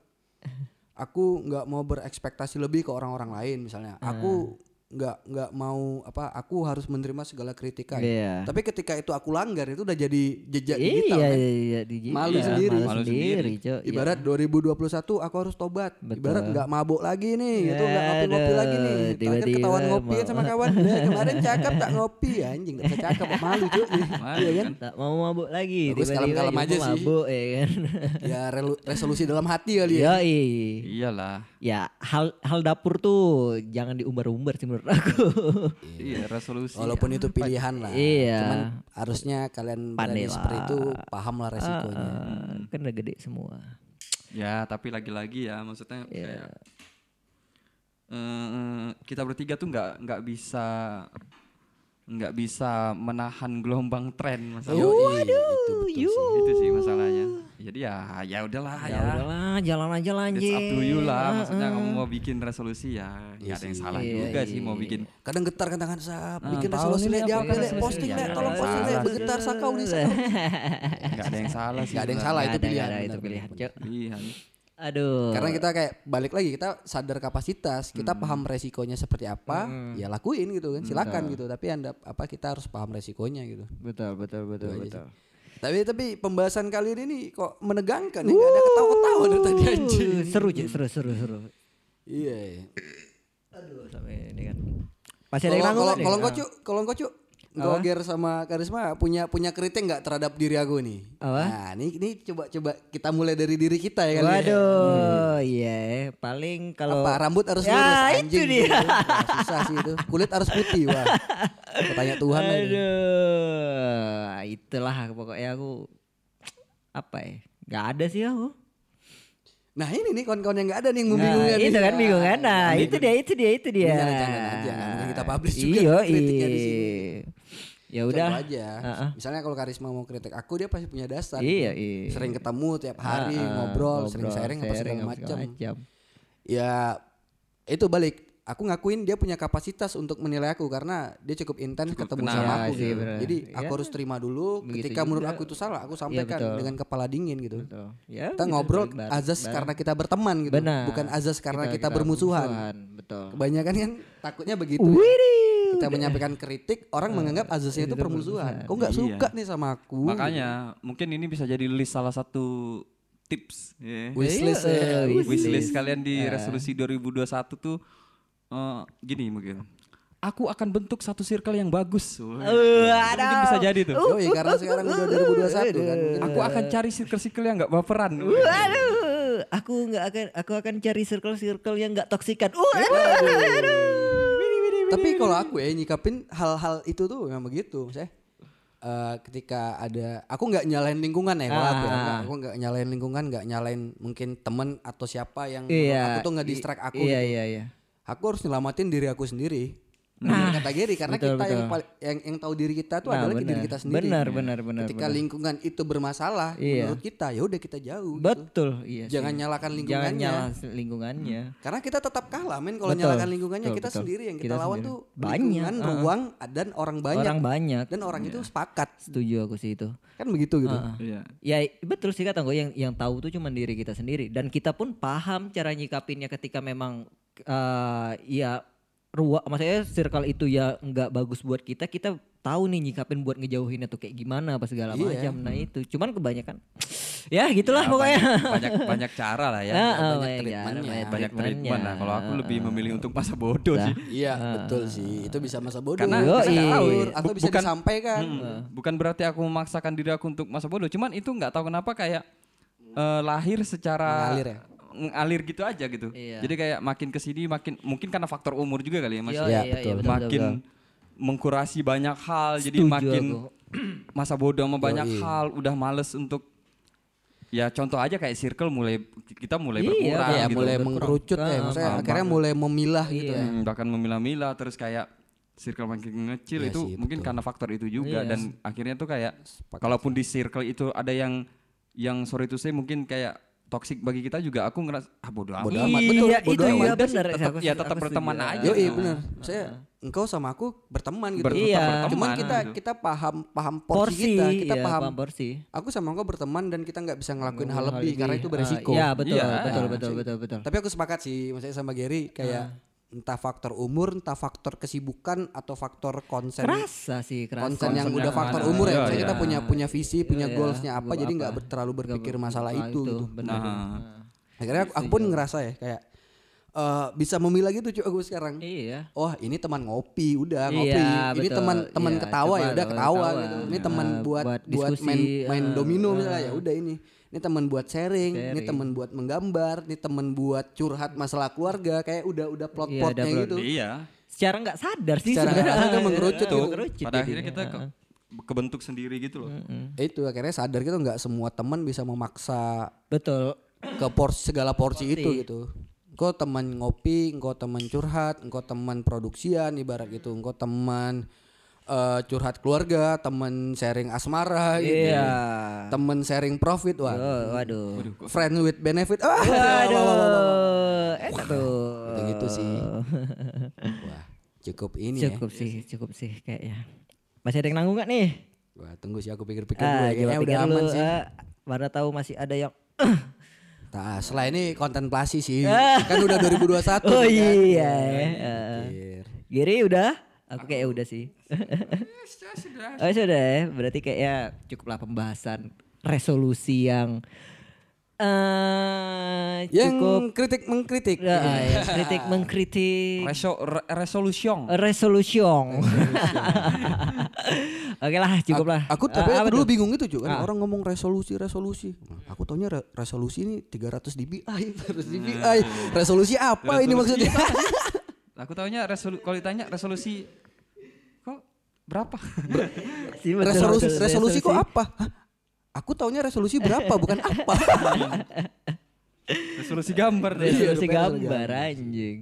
[SPEAKER 2] aku nggak mau berekspektasi lebih ke orang-orang lain misalnya. Aku nggak nggak mau apa aku harus menerima segala kritikan.
[SPEAKER 1] Iya.
[SPEAKER 2] Kan? Tapi ketika itu aku langgar itu udah jadi jejak digital.
[SPEAKER 1] iya,
[SPEAKER 2] kan?
[SPEAKER 1] iya, iya, digital.
[SPEAKER 2] Malu sendiri.
[SPEAKER 1] Malu
[SPEAKER 3] Malu
[SPEAKER 1] sendiri,
[SPEAKER 3] sendiri.
[SPEAKER 1] Cok. Iya.
[SPEAKER 2] Ibarat 2021 aku harus tobat.
[SPEAKER 1] Betul. Ya,
[SPEAKER 2] Ibarat nggak mabuk lagi nih, gitu nggak
[SPEAKER 1] Aduh,
[SPEAKER 2] ngopi-ngopi lagi nih. Terakhir
[SPEAKER 1] tiba-tiba
[SPEAKER 2] ketahuan ngopi
[SPEAKER 1] mau-
[SPEAKER 2] sama kawan. "Dek, kemarin cakep tak ngopi anjing, nggak bisa cakep malu cuy.
[SPEAKER 3] Malu
[SPEAKER 2] Iya kan?
[SPEAKER 1] Tak mau mabuk lagi.
[SPEAKER 2] Bagus,
[SPEAKER 1] tiba-tiba
[SPEAKER 2] kalem-kalem
[SPEAKER 1] ibu
[SPEAKER 2] aja sih.
[SPEAKER 1] Mabuk, ya kan. Iya.
[SPEAKER 2] Ya relu- resolusi dalam hati kali ya.
[SPEAKER 1] Yoi.
[SPEAKER 3] iyalah
[SPEAKER 1] Ya, hal hal dapur tuh jangan diumbar-umbar sih menurut aku.
[SPEAKER 3] iya resolusi
[SPEAKER 2] Walaupun itu pilihan lah.
[SPEAKER 1] Iya.
[SPEAKER 2] Cuman harusnya kalian
[SPEAKER 1] Pandai
[SPEAKER 2] berani
[SPEAKER 1] lah.
[SPEAKER 2] seperti itu paham lah resikonya.
[SPEAKER 1] Ah, kan udah gede semua.
[SPEAKER 3] Ya, tapi lagi-lagi ya, maksudnya
[SPEAKER 1] Iya.
[SPEAKER 3] kayak eh, kita bertiga tuh nggak nggak bisa nggak bisa menahan gelombang tren masalah
[SPEAKER 2] Yoi, itu betul
[SPEAKER 1] you.
[SPEAKER 2] sih.
[SPEAKER 3] itu sih masalahnya. Jadi ya ya udahlah
[SPEAKER 2] Ah,
[SPEAKER 3] ya.
[SPEAKER 1] iya. Ya udahlah, jalan aja lah
[SPEAKER 3] It's
[SPEAKER 1] anjing.
[SPEAKER 3] up to you lah, maksudnya kamu mau bikin resolusi ya, nggak ada yang salah
[SPEAKER 1] Iya,
[SPEAKER 3] juga sih mau bikin.
[SPEAKER 2] Kadang getar kan tangan sap, bikin
[SPEAKER 3] tahu
[SPEAKER 2] resolusi
[SPEAKER 3] nih
[SPEAKER 2] lek
[SPEAKER 3] apa
[SPEAKER 2] dia
[SPEAKER 3] ya, resolusi.
[SPEAKER 2] posting
[SPEAKER 3] Iya,
[SPEAKER 2] lek, tolong
[SPEAKER 3] iya,
[SPEAKER 2] posting lek,
[SPEAKER 3] salah.
[SPEAKER 2] bergetar sakau nih sakau.
[SPEAKER 3] Nggak ada yang salah sih. Iya.
[SPEAKER 2] Nggak ada yang salah
[SPEAKER 1] Nggak ada,
[SPEAKER 2] itu
[SPEAKER 1] nggak
[SPEAKER 2] pilihan.
[SPEAKER 1] ada, itu
[SPEAKER 2] benar,
[SPEAKER 1] pilihan,
[SPEAKER 2] benar.
[SPEAKER 1] Cok.
[SPEAKER 3] Pilihan.
[SPEAKER 1] Aduh.
[SPEAKER 2] Karena kita kayak balik lagi kita sadar kapasitas, kita
[SPEAKER 1] Hmm.
[SPEAKER 2] paham resikonya seperti apa, ya lakuin gitu kan. Silakan gitu, tapi Anda apa kita harus paham resikonya gitu.
[SPEAKER 1] betul betul betul
[SPEAKER 2] Itu aja sih. Tapi tapi pembahasan kali ini nih kok menegangkan ya, nggak ada ketawa-ketawa dari tadi anjing.
[SPEAKER 1] Seru, Cok, seru seru seru.
[SPEAKER 2] Iya. iya.
[SPEAKER 1] Aduh, sampai ini kan. Pasti ada
[SPEAKER 2] Kalau
[SPEAKER 1] yang
[SPEAKER 2] kalau
[SPEAKER 1] nanggung
[SPEAKER 2] kalau
[SPEAKER 1] kan?
[SPEAKER 2] engkau, Cuk, kalau engkau, Cuk, engkau, Ger, sama Karisma punya punya kritik nggak terhadap diri aku nih?
[SPEAKER 1] Apa?
[SPEAKER 2] Nah, ini ini coba coba kita mulai dari diri kita ya kali. ya.
[SPEAKER 1] Waduh, iya paling kalau
[SPEAKER 2] Hmm. Apa rambut harus
[SPEAKER 1] Ya,
[SPEAKER 2] lurus
[SPEAKER 1] itu
[SPEAKER 2] anjing. gitu.
[SPEAKER 1] dia.
[SPEAKER 2] Wah, susah sih itu. Kulit harus putih, wah. Tanya Tuhan lah ini.
[SPEAKER 1] Aduh, itulah pokoknya aku apa ya? Gak ada sih aku.
[SPEAKER 2] Nah ini nih kawan-kawan yang nggak ada nih yang
[SPEAKER 1] Nah,
[SPEAKER 2] membingungkan.
[SPEAKER 1] itu
[SPEAKER 2] nih.
[SPEAKER 1] kan bingung kan? Nah, itu dia, itu dia, itu dia.
[SPEAKER 2] Ini jangan-jangan aja, nggak mungkin kita publish juga
[SPEAKER 1] Iya,
[SPEAKER 2] kritiknya di sini.
[SPEAKER 1] iya. Ya
[SPEAKER 2] Contoh
[SPEAKER 1] udah.
[SPEAKER 2] aja.
[SPEAKER 1] Heeh.
[SPEAKER 2] Misalnya kalau Karisma mau kritik aku dia pasti punya dasar.
[SPEAKER 1] Iya, iya.
[SPEAKER 2] Sering ketemu tiap hari
[SPEAKER 1] Heeh,
[SPEAKER 2] ngobrol, sering sharing apa segala
[SPEAKER 1] sharing
[SPEAKER 2] macam.
[SPEAKER 1] macam.
[SPEAKER 2] Ya itu balik. Aku ngakuin dia punya kapasitas untuk menilai aku karena dia cukup intens
[SPEAKER 3] Cukup
[SPEAKER 2] ketemu
[SPEAKER 3] kenal.
[SPEAKER 2] sama
[SPEAKER 1] Iya
[SPEAKER 2] aku.
[SPEAKER 1] sih,
[SPEAKER 2] gitu.
[SPEAKER 1] bener.
[SPEAKER 2] Jadi
[SPEAKER 1] Iya.
[SPEAKER 2] aku harus terima dulu.
[SPEAKER 1] Begitu
[SPEAKER 2] ketika menurut
[SPEAKER 1] juga. Iya,
[SPEAKER 2] aku itu salah, aku sampaikan
[SPEAKER 1] betul.
[SPEAKER 2] dengan kepala dingin gitu.
[SPEAKER 1] Betul. Ya,
[SPEAKER 2] Kita
[SPEAKER 1] gitu,
[SPEAKER 2] ngobrol
[SPEAKER 1] bareng-
[SPEAKER 2] azas
[SPEAKER 1] bareng.
[SPEAKER 2] karena kita berteman gitu,
[SPEAKER 1] Benar.
[SPEAKER 2] bukan azas karena kita, bermusuhan.
[SPEAKER 1] Betul.
[SPEAKER 2] Kebanyakan kan takutnya begitu. ya.
[SPEAKER 1] Widih. Nah,
[SPEAKER 2] Kita menyampaikan kritik, orang menganggap azasnya itu permusuhan. Kok nggak
[SPEAKER 3] Iya.
[SPEAKER 2] suka nih sama aku?
[SPEAKER 3] Makanya mungkin ini bisa jadi list salah satu tips ya.
[SPEAKER 1] Iya,
[SPEAKER 2] wishlist ya.
[SPEAKER 1] iya,
[SPEAKER 3] Wishlist kalian di
[SPEAKER 1] Ah.
[SPEAKER 3] resolusi 2021 tuh eh, gini mungkin. Aku akan bentuk satu circle yang bagus. Wah, mungkin bisa jadi tuh.
[SPEAKER 2] Yoi, karena sekarang udah 2021 kan. Mungkin
[SPEAKER 3] Aku akan cari circle-circle yang nggak baperan.
[SPEAKER 1] Waduh, aku nggak akan aku akan cari circle-circle yang nggak toksikan. Uh, aduh, aduh, aduh.
[SPEAKER 2] Tapi kalau aku ya nyikapin hal-hal itu tuh memang begitu. Saya eh, ketika ada aku nggak nyalain lingkungan ya kalau aku, ya.
[SPEAKER 1] Ah.
[SPEAKER 2] Nggak- aku nggak nyalain lingkungan, nggak nyalain mungkin temen atau siapa yang menurut
[SPEAKER 1] Iya.
[SPEAKER 2] aku tuh nggak
[SPEAKER 1] i-
[SPEAKER 2] distract aku.
[SPEAKER 1] Iya,
[SPEAKER 2] gitu.
[SPEAKER 1] iya, iya.
[SPEAKER 2] Aku harus nyelamatin diri aku sendiri. Nah, kata Gary karena
[SPEAKER 1] betul,
[SPEAKER 2] kita yang
[SPEAKER 1] betul.
[SPEAKER 2] pal- yang yang tahu diri kita tuh
[SPEAKER 1] Nah,
[SPEAKER 2] adalah
[SPEAKER 1] benar.
[SPEAKER 2] diri kita sendiri.
[SPEAKER 1] Benar, benar, benar,
[SPEAKER 2] Ketika
[SPEAKER 1] benar.
[SPEAKER 2] lingkungan itu bermasalah
[SPEAKER 1] Iya.
[SPEAKER 2] menurut kita, ya udah kita jauh. gitu.
[SPEAKER 1] Betul, iya. sih.
[SPEAKER 2] Jangan nyalakan
[SPEAKER 1] Jangan
[SPEAKER 2] lingkungannya.
[SPEAKER 1] nyala lingkungannya.
[SPEAKER 2] Karena kita tetap kalah men kalau
[SPEAKER 1] Betul,
[SPEAKER 2] nyalakan lingkungannya
[SPEAKER 1] betul,
[SPEAKER 2] kita
[SPEAKER 1] betul.
[SPEAKER 2] sendiri yang kita,
[SPEAKER 1] Kita
[SPEAKER 2] lawan
[SPEAKER 1] sendiri.
[SPEAKER 2] tuh
[SPEAKER 1] Banyak,
[SPEAKER 2] lingkungan,
[SPEAKER 1] ah.
[SPEAKER 2] ruang dan orang banyak
[SPEAKER 1] Orang Iya. banyak.
[SPEAKER 2] dan orang itu sepakat
[SPEAKER 1] Setuju aku sih itu.
[SPEAKER 2] kan begitu gitu.
[SPEAKER 3] Iya.
[SPEAKER 1] Ya i- betul sih kata gue yang yang tahu tuh cuma diri kita sendiri dan kita pun paham cara nyikapinnya ketika memang eh ya ruang maksudnya circle itu ya nggak bagus buat kita kita tahu nih nyikapin buat ngejauhinnya tuh kayak gimana apa segala
[SPEAKER 2] Iya.
[SPEAKER 1] macam nah itu cuman kebanyakan ya gitulah pokoknya
[SPEAKER 3] Nah, Iya, Banyak banyak cara lah ya.
[SPEAKER 1] Ah, ah,
[SPEAKER 2] banyak
[SPEAKER 1] banyak
[SPEAKER 2] treatmentnya.
[SPEAKER 1] banyak
[SPEAKER 3] banyak
[SPEAKER 1] treatmentnya. Iya, Ah.
[SPEAKER 3] treatment. Nah, kalau aku lebih memilih untuk masa bodoh sih.
[SPEAKER 2] Iya betul sih itu bisa masa bodoh
[SPEAKER 3] Karena-
[SPEAKER 2] bisa
[SPEAKER 1] Yoi.
[SPEAKER 2] ngawur, atau
[SPEAKER 3] Bu-
[SPEAKER 2] bisa
[SPEAKER 3] bukan-
[SPEAKER 2] disampaikan.
[SPEAKER 1] Hmm.
[SPEAKER 3] Mm-mm. Hmm. Bukan berarti aku memaksakan diri aku untuk masa bodoh, cuman itu nggak tahu kenapa kayak eh, lahir secara
[SPEAKER 2] Mengalir ya?
[SPEAKER 3] mengalir gitu aja gitu.
[SPEAKER 1] Iya.
[SPEAKER 3] Jadi kayak makin kesini makin mungkin karena faktor umur juga kali ya Mas.
[SPEAKER 1] Iya,
[SPEAKER 2] Ya,
[SPEAKER 1] iya, iya,
[SPEAKER 2] betul.
[SPEAKER 1] betul,
[SPEAKER 3] makin
[SPEAKER 1] betul.
[SPEAKER 3] mengkurasi banyak hal, jadi
[SPEAKER 1] Setuju
[SPEAKER 3] makin
[SPEAKER 1] aku.
[SPEAKER 3] masa bodoh sama banyak
[SPEAKER 2] Yoi.
[SPEAKER 3] hal, udah males untuk ya contoh aja kayak circle mulai kita mulai
[SPEAKER 1] Iya,
[SPEAKER 3] berkurang
[SPEAKER 2] Iya,
[SPEAKER 3] gitu.
[SPEAKER 2] mulai mengerucut ya, maksudnya akhirnya mulai memilah
[SPEAKER 1] Iya,
[SPEAKER 2] gitu. ya.
[SPEAKER 3] Hmm, bahkan memilah-milah terus kayak circle makin ngecil
[SPEAKER 2] Iya
[SPEAKER 3] itu
[SPEAKER 2] sih, Iya.
[SPEAKER 3] mungkin karena faktor itu juga dan akhirnya tuh kayak kalaupun di circle itu ada yang yang sorry to say mungkin kayak toxic bagi kita juga aku ngeras ah bodo amat.
[SPEAKER 2] Bodo amat, betul,
[SPEAKER 1] iya
[SPEAKER 2] bodo
[SPEAKER 1] itu
[SPEAKER 2] amat.
[SPEAKER 1] iya benar
[SPEAKER 3] Tetep- ya tetap berteman aja.
[SPEAKER 2] Yo, iya benar. Saya engkau sama aku berteman gitu.
[SPEAKER 3] Bertetap
[SPEAKER 1] Iya.
[SPEAKER 3] berteman
[SPEAKER 2] Cuman kita
[SPEAKER 3] gitu.
[SPEAKER 2] kita paham paham porsi,
[SPEAKER 1] porsi
[SPEAKER 2] kita, kita
[SPEAKER 1] iya,
[SPEAKER 2] paham.
[SPEAKER 1] porsi
[SPEAKER 2] Aku sama engkau berteman dan kita nggak bisa ngelakuin hal lebih karena itu beresiko.
[SPEAKER 1] ya betul
[SPEAKER 3] Iya.
[SPEAKER 1] betul betul betul betul
[SPEAKER 2] Tapi aku sepakat sih, maksudnya sama Gary kayak entah faktor umur, entah faktor kesibukan atau faktor konsen.
[SPEAKER 1] kerasa sih kerasa
[SPEAKER 2] Konsen yang
[SPEAKER 3] Konsen
[SPEAKER 2] udah
[SPEAKER 3] yang
[SPEAKER 2] faktor
[SPEAKER 3] mana?
[SPEAKER 2] umur ya,
[SPEAKER 3] Iya,
[SPEAKER 2] misalnya
[SPEAKER 3] iya.
[SPEAKER 2] kita punya punya visi, punya
[SPEAKER 1] Iya, iya.
[SPEAKER 2] goalsnya apa,
[SPEAKER 1] Gua
[SPEAKER 2] jadi
[SPEAKER 1] apa.
[SPEAKER 2] nggak ber- terlalu berpikir masalah
[SPEAKER 1] Nah,
[SPEAKER 2] itu. gitu.
[SPEAKER 1] benar
[SPEAKER 3] Nah.
[SPEAKER 2] Akhirnya aku, aku pun ngerasa ya kayak eh, bisa memilah gitu cuy aku sekarang.
[SPEAKER 1] iya
[SPEAKER 2] Oh ini teman ngopi, udah
[SPEAKER 1] Iya,
[SPEAKER 2] ngopi. ini
[SPEAKER 1] betul.
[SPEAKER 2] teman teman
[SPEAKER 1] Iya,
[SPEAKER 2] ketawa ya
[SPEAKER 1] teman-
[SPEAKER 2] udah
[SPEAKER 1] teman
[SPEAKER 2] ketawa,
[SPEAKER 1] ketawa.
[SPEAKER 2] gitu. Ini
[SPEAKER 1] Nah,
[SPEAKER 2] teman buat
[SPEAKER 1] buat
[SPEAKER 2] buat, main
[SPEAKER 1] diskusi,
[SPEAKER 2] main
[SPEAKER 1] ah,
[SPEAKER 2] domino misalnya ya udah ini. Ini teman buat sharing, ini
[SPEAKER 1] Sharing.
[SPEAKER 2] teman buat menggambar, ini teman buat curhat masalah keluarga, kayak udah udah plot
[SPEAKER 1] Iya,
[SPEAKER 2] plotnya
[SPEAKER 1] ada plot.
[SPEAKER 2] gitu.
[SPEAKER 3] Iya.
[SPEAKER 1] secara nggak sadar sih
[SPEAKER 2] Secara nggak
[SPEAKER 1] sebenarnya.
[SPEAKER 2] sadar mengerucut
[SPEAKER 1] Iya,
[SPEAKER 2] gitu.
[SPEAKER 1] mengerucut
[SPEAKER 3] Pada akhirnya
[SPEAKER 1] jadinya.
[SPEAKER 3] kita ke, kebentuk sendiri gitu loh.
[SPEAKER 2] Itu akhirnya sadar gitu nggak semua teman bisa memaksa
[SPEAKER 1] betul
[SPEAKER 2] Oh, ke porsi segala porsi itu gitu. Engkau teman ngopi, engkau teman curhat, engkau teman produksian ibarat gitu, engkau teman eh, curhat keluarga, teman sharing asmara gitu.
[SPEAKER 1] iya
[SPEAKER 2] Teman sharing profit wah.
[SPEAKER 1] oh, waduh
[SPEAKER 2] Friend with benefit. Ah,
[SPEAKER 1] waduh
[SPEAKER 2] wah, wah, wah, wah.
[SPEAKER 1] enak tuh
[SPEAKER 2] Gitu-gitu gitu sih. Wah, cukup ini ya.
[SPEAKER 1] cukup sih cukup sih kayaknya masih ada yang nanggung nggak nih
[SPEAKER 2] Wah, tunggu sih aku pikir-pikir dulu
[SPEAKER 1] ah coba
[SPEAKER 2] ya. Kayaknya
[SPEAKER 1] pikir
[SPEAKER 2] udah aman
[SPEAKER 1] dulu
[SPEAKER 2] sih.
[SPEAKER 1] ah, mana tahu masih ada yang
[SPEAKER 2] Nah, setelah ini kontemplasi sih. kan udah 2021.
[SPEAKER 1] Ah. oh
[SPEAKER 2] kan?
[SPEAKER 1] iya ya.
[SPEAKER 2] Pikir.
[SPEAKER 1] Giri udah aku kayak udah sih Oh sudah ya, berarti kayak ya cukuplah pembahasan resolusi yang eh
[SPEAKER 2] Yang
[SPEAKER 1] cukup
[SPEAKER 2] kritik mengkritik.
[SPEAKER 1] ya, ah, ya, kritik mengkritik
[SPEAKER 3] Reso- re- resolution.
[SPEAKER 1] resolusi. Oke lah, cukup lah.
[SPEAKER 2] Aku tapi
[SPEAKER 1] Ah, apa
[SPEAKER 2] aku dulu
[SPEAKER 1] tuh? Ah.
[SPEAKER 2] bingung itu juga kan orang ngomong resolusi resolusi. Aku taunya re- resolusi ini 300 dBi, 300
[SPEAKER 1] Hmm.
[SPEAKER 2] dBi. Resolusi apa ini maksudnya?
[SPEAKER 3] Aku taunya resolu kalau ditanya resolusi kok berapa?
[SPEAKER 1] Si, betul,
[SPEAKER 2] resolusi
[SPEAKER 1] betul,
[SPEAKER 2] resolusi kok apa? Hah? Aku taunya resolusi berapa bukan apa.
[SPEAKER 3] resolusi gambar
[SPEAKER 2] Iya,
[SPEAKER 3] deh.
[SPEAKER 1] Resolusi gambar anjing.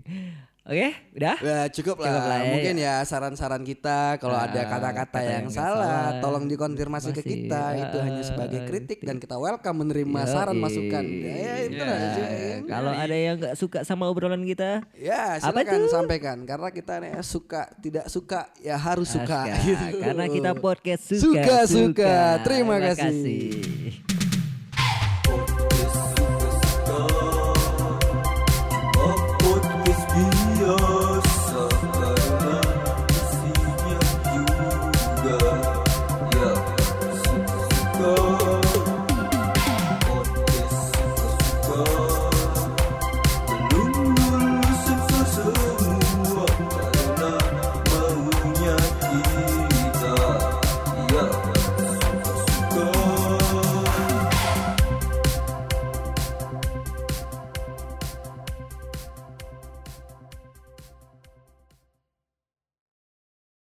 [SPEAKER 1] Oke, udah?
[SPEAKER 2] Ya, cukup lah.
[SPEAKER 1] Cukup lah ya.
[SPEAKER 2] Mungkin ya saran-saran kita kalau
[SPEAKER 1] Nah,
[SPEAKER 2] ada kata-kata
[SPEAKER 1] kata
[SPEAKER 2] yang,
[SPEAKER 1] yang
[SPEAKER 2] salah,
[SPEAKER 1] salah,
[SPEAKER 2] tolong dikonfirmasi ke
[SPEAKER 1] konfirmasi.
[SPEAKER 2] kita. Itu hanya sebagai
[SPEAKER 1] Ah,
[SPEAKER 2] kritik
[SPEAKER 1] kritik.
[SPEAKER 2] dan kita welcome menerima
[SPEAKER 1] Yoi.
[SPEAKER 2] saran masukan. Ya, ya, itulah.
[SPEAKER 3] Ya.
[SPEAKER 2] Ya,
[SPEAKER 1] Kalau ada yang nggak suka sama obrolan kita,
[SPEAKER 2] ya
[SPEAKER 1] Apa
[SPEAKER 2] silakan
[SPEAKER 1] tuh?
[SPEAKER 2] sampaikan karena kita nih ya suka tidak suka ya harus suka.
[SPEAKER 1] Aska.
[SPEAKER 2] gitu.
[SPEAKER 1] Karena kita podcast suka.
[SPEAKER 2] Suka, suka. Terima kasih.
[SPEAKER 1] kasih.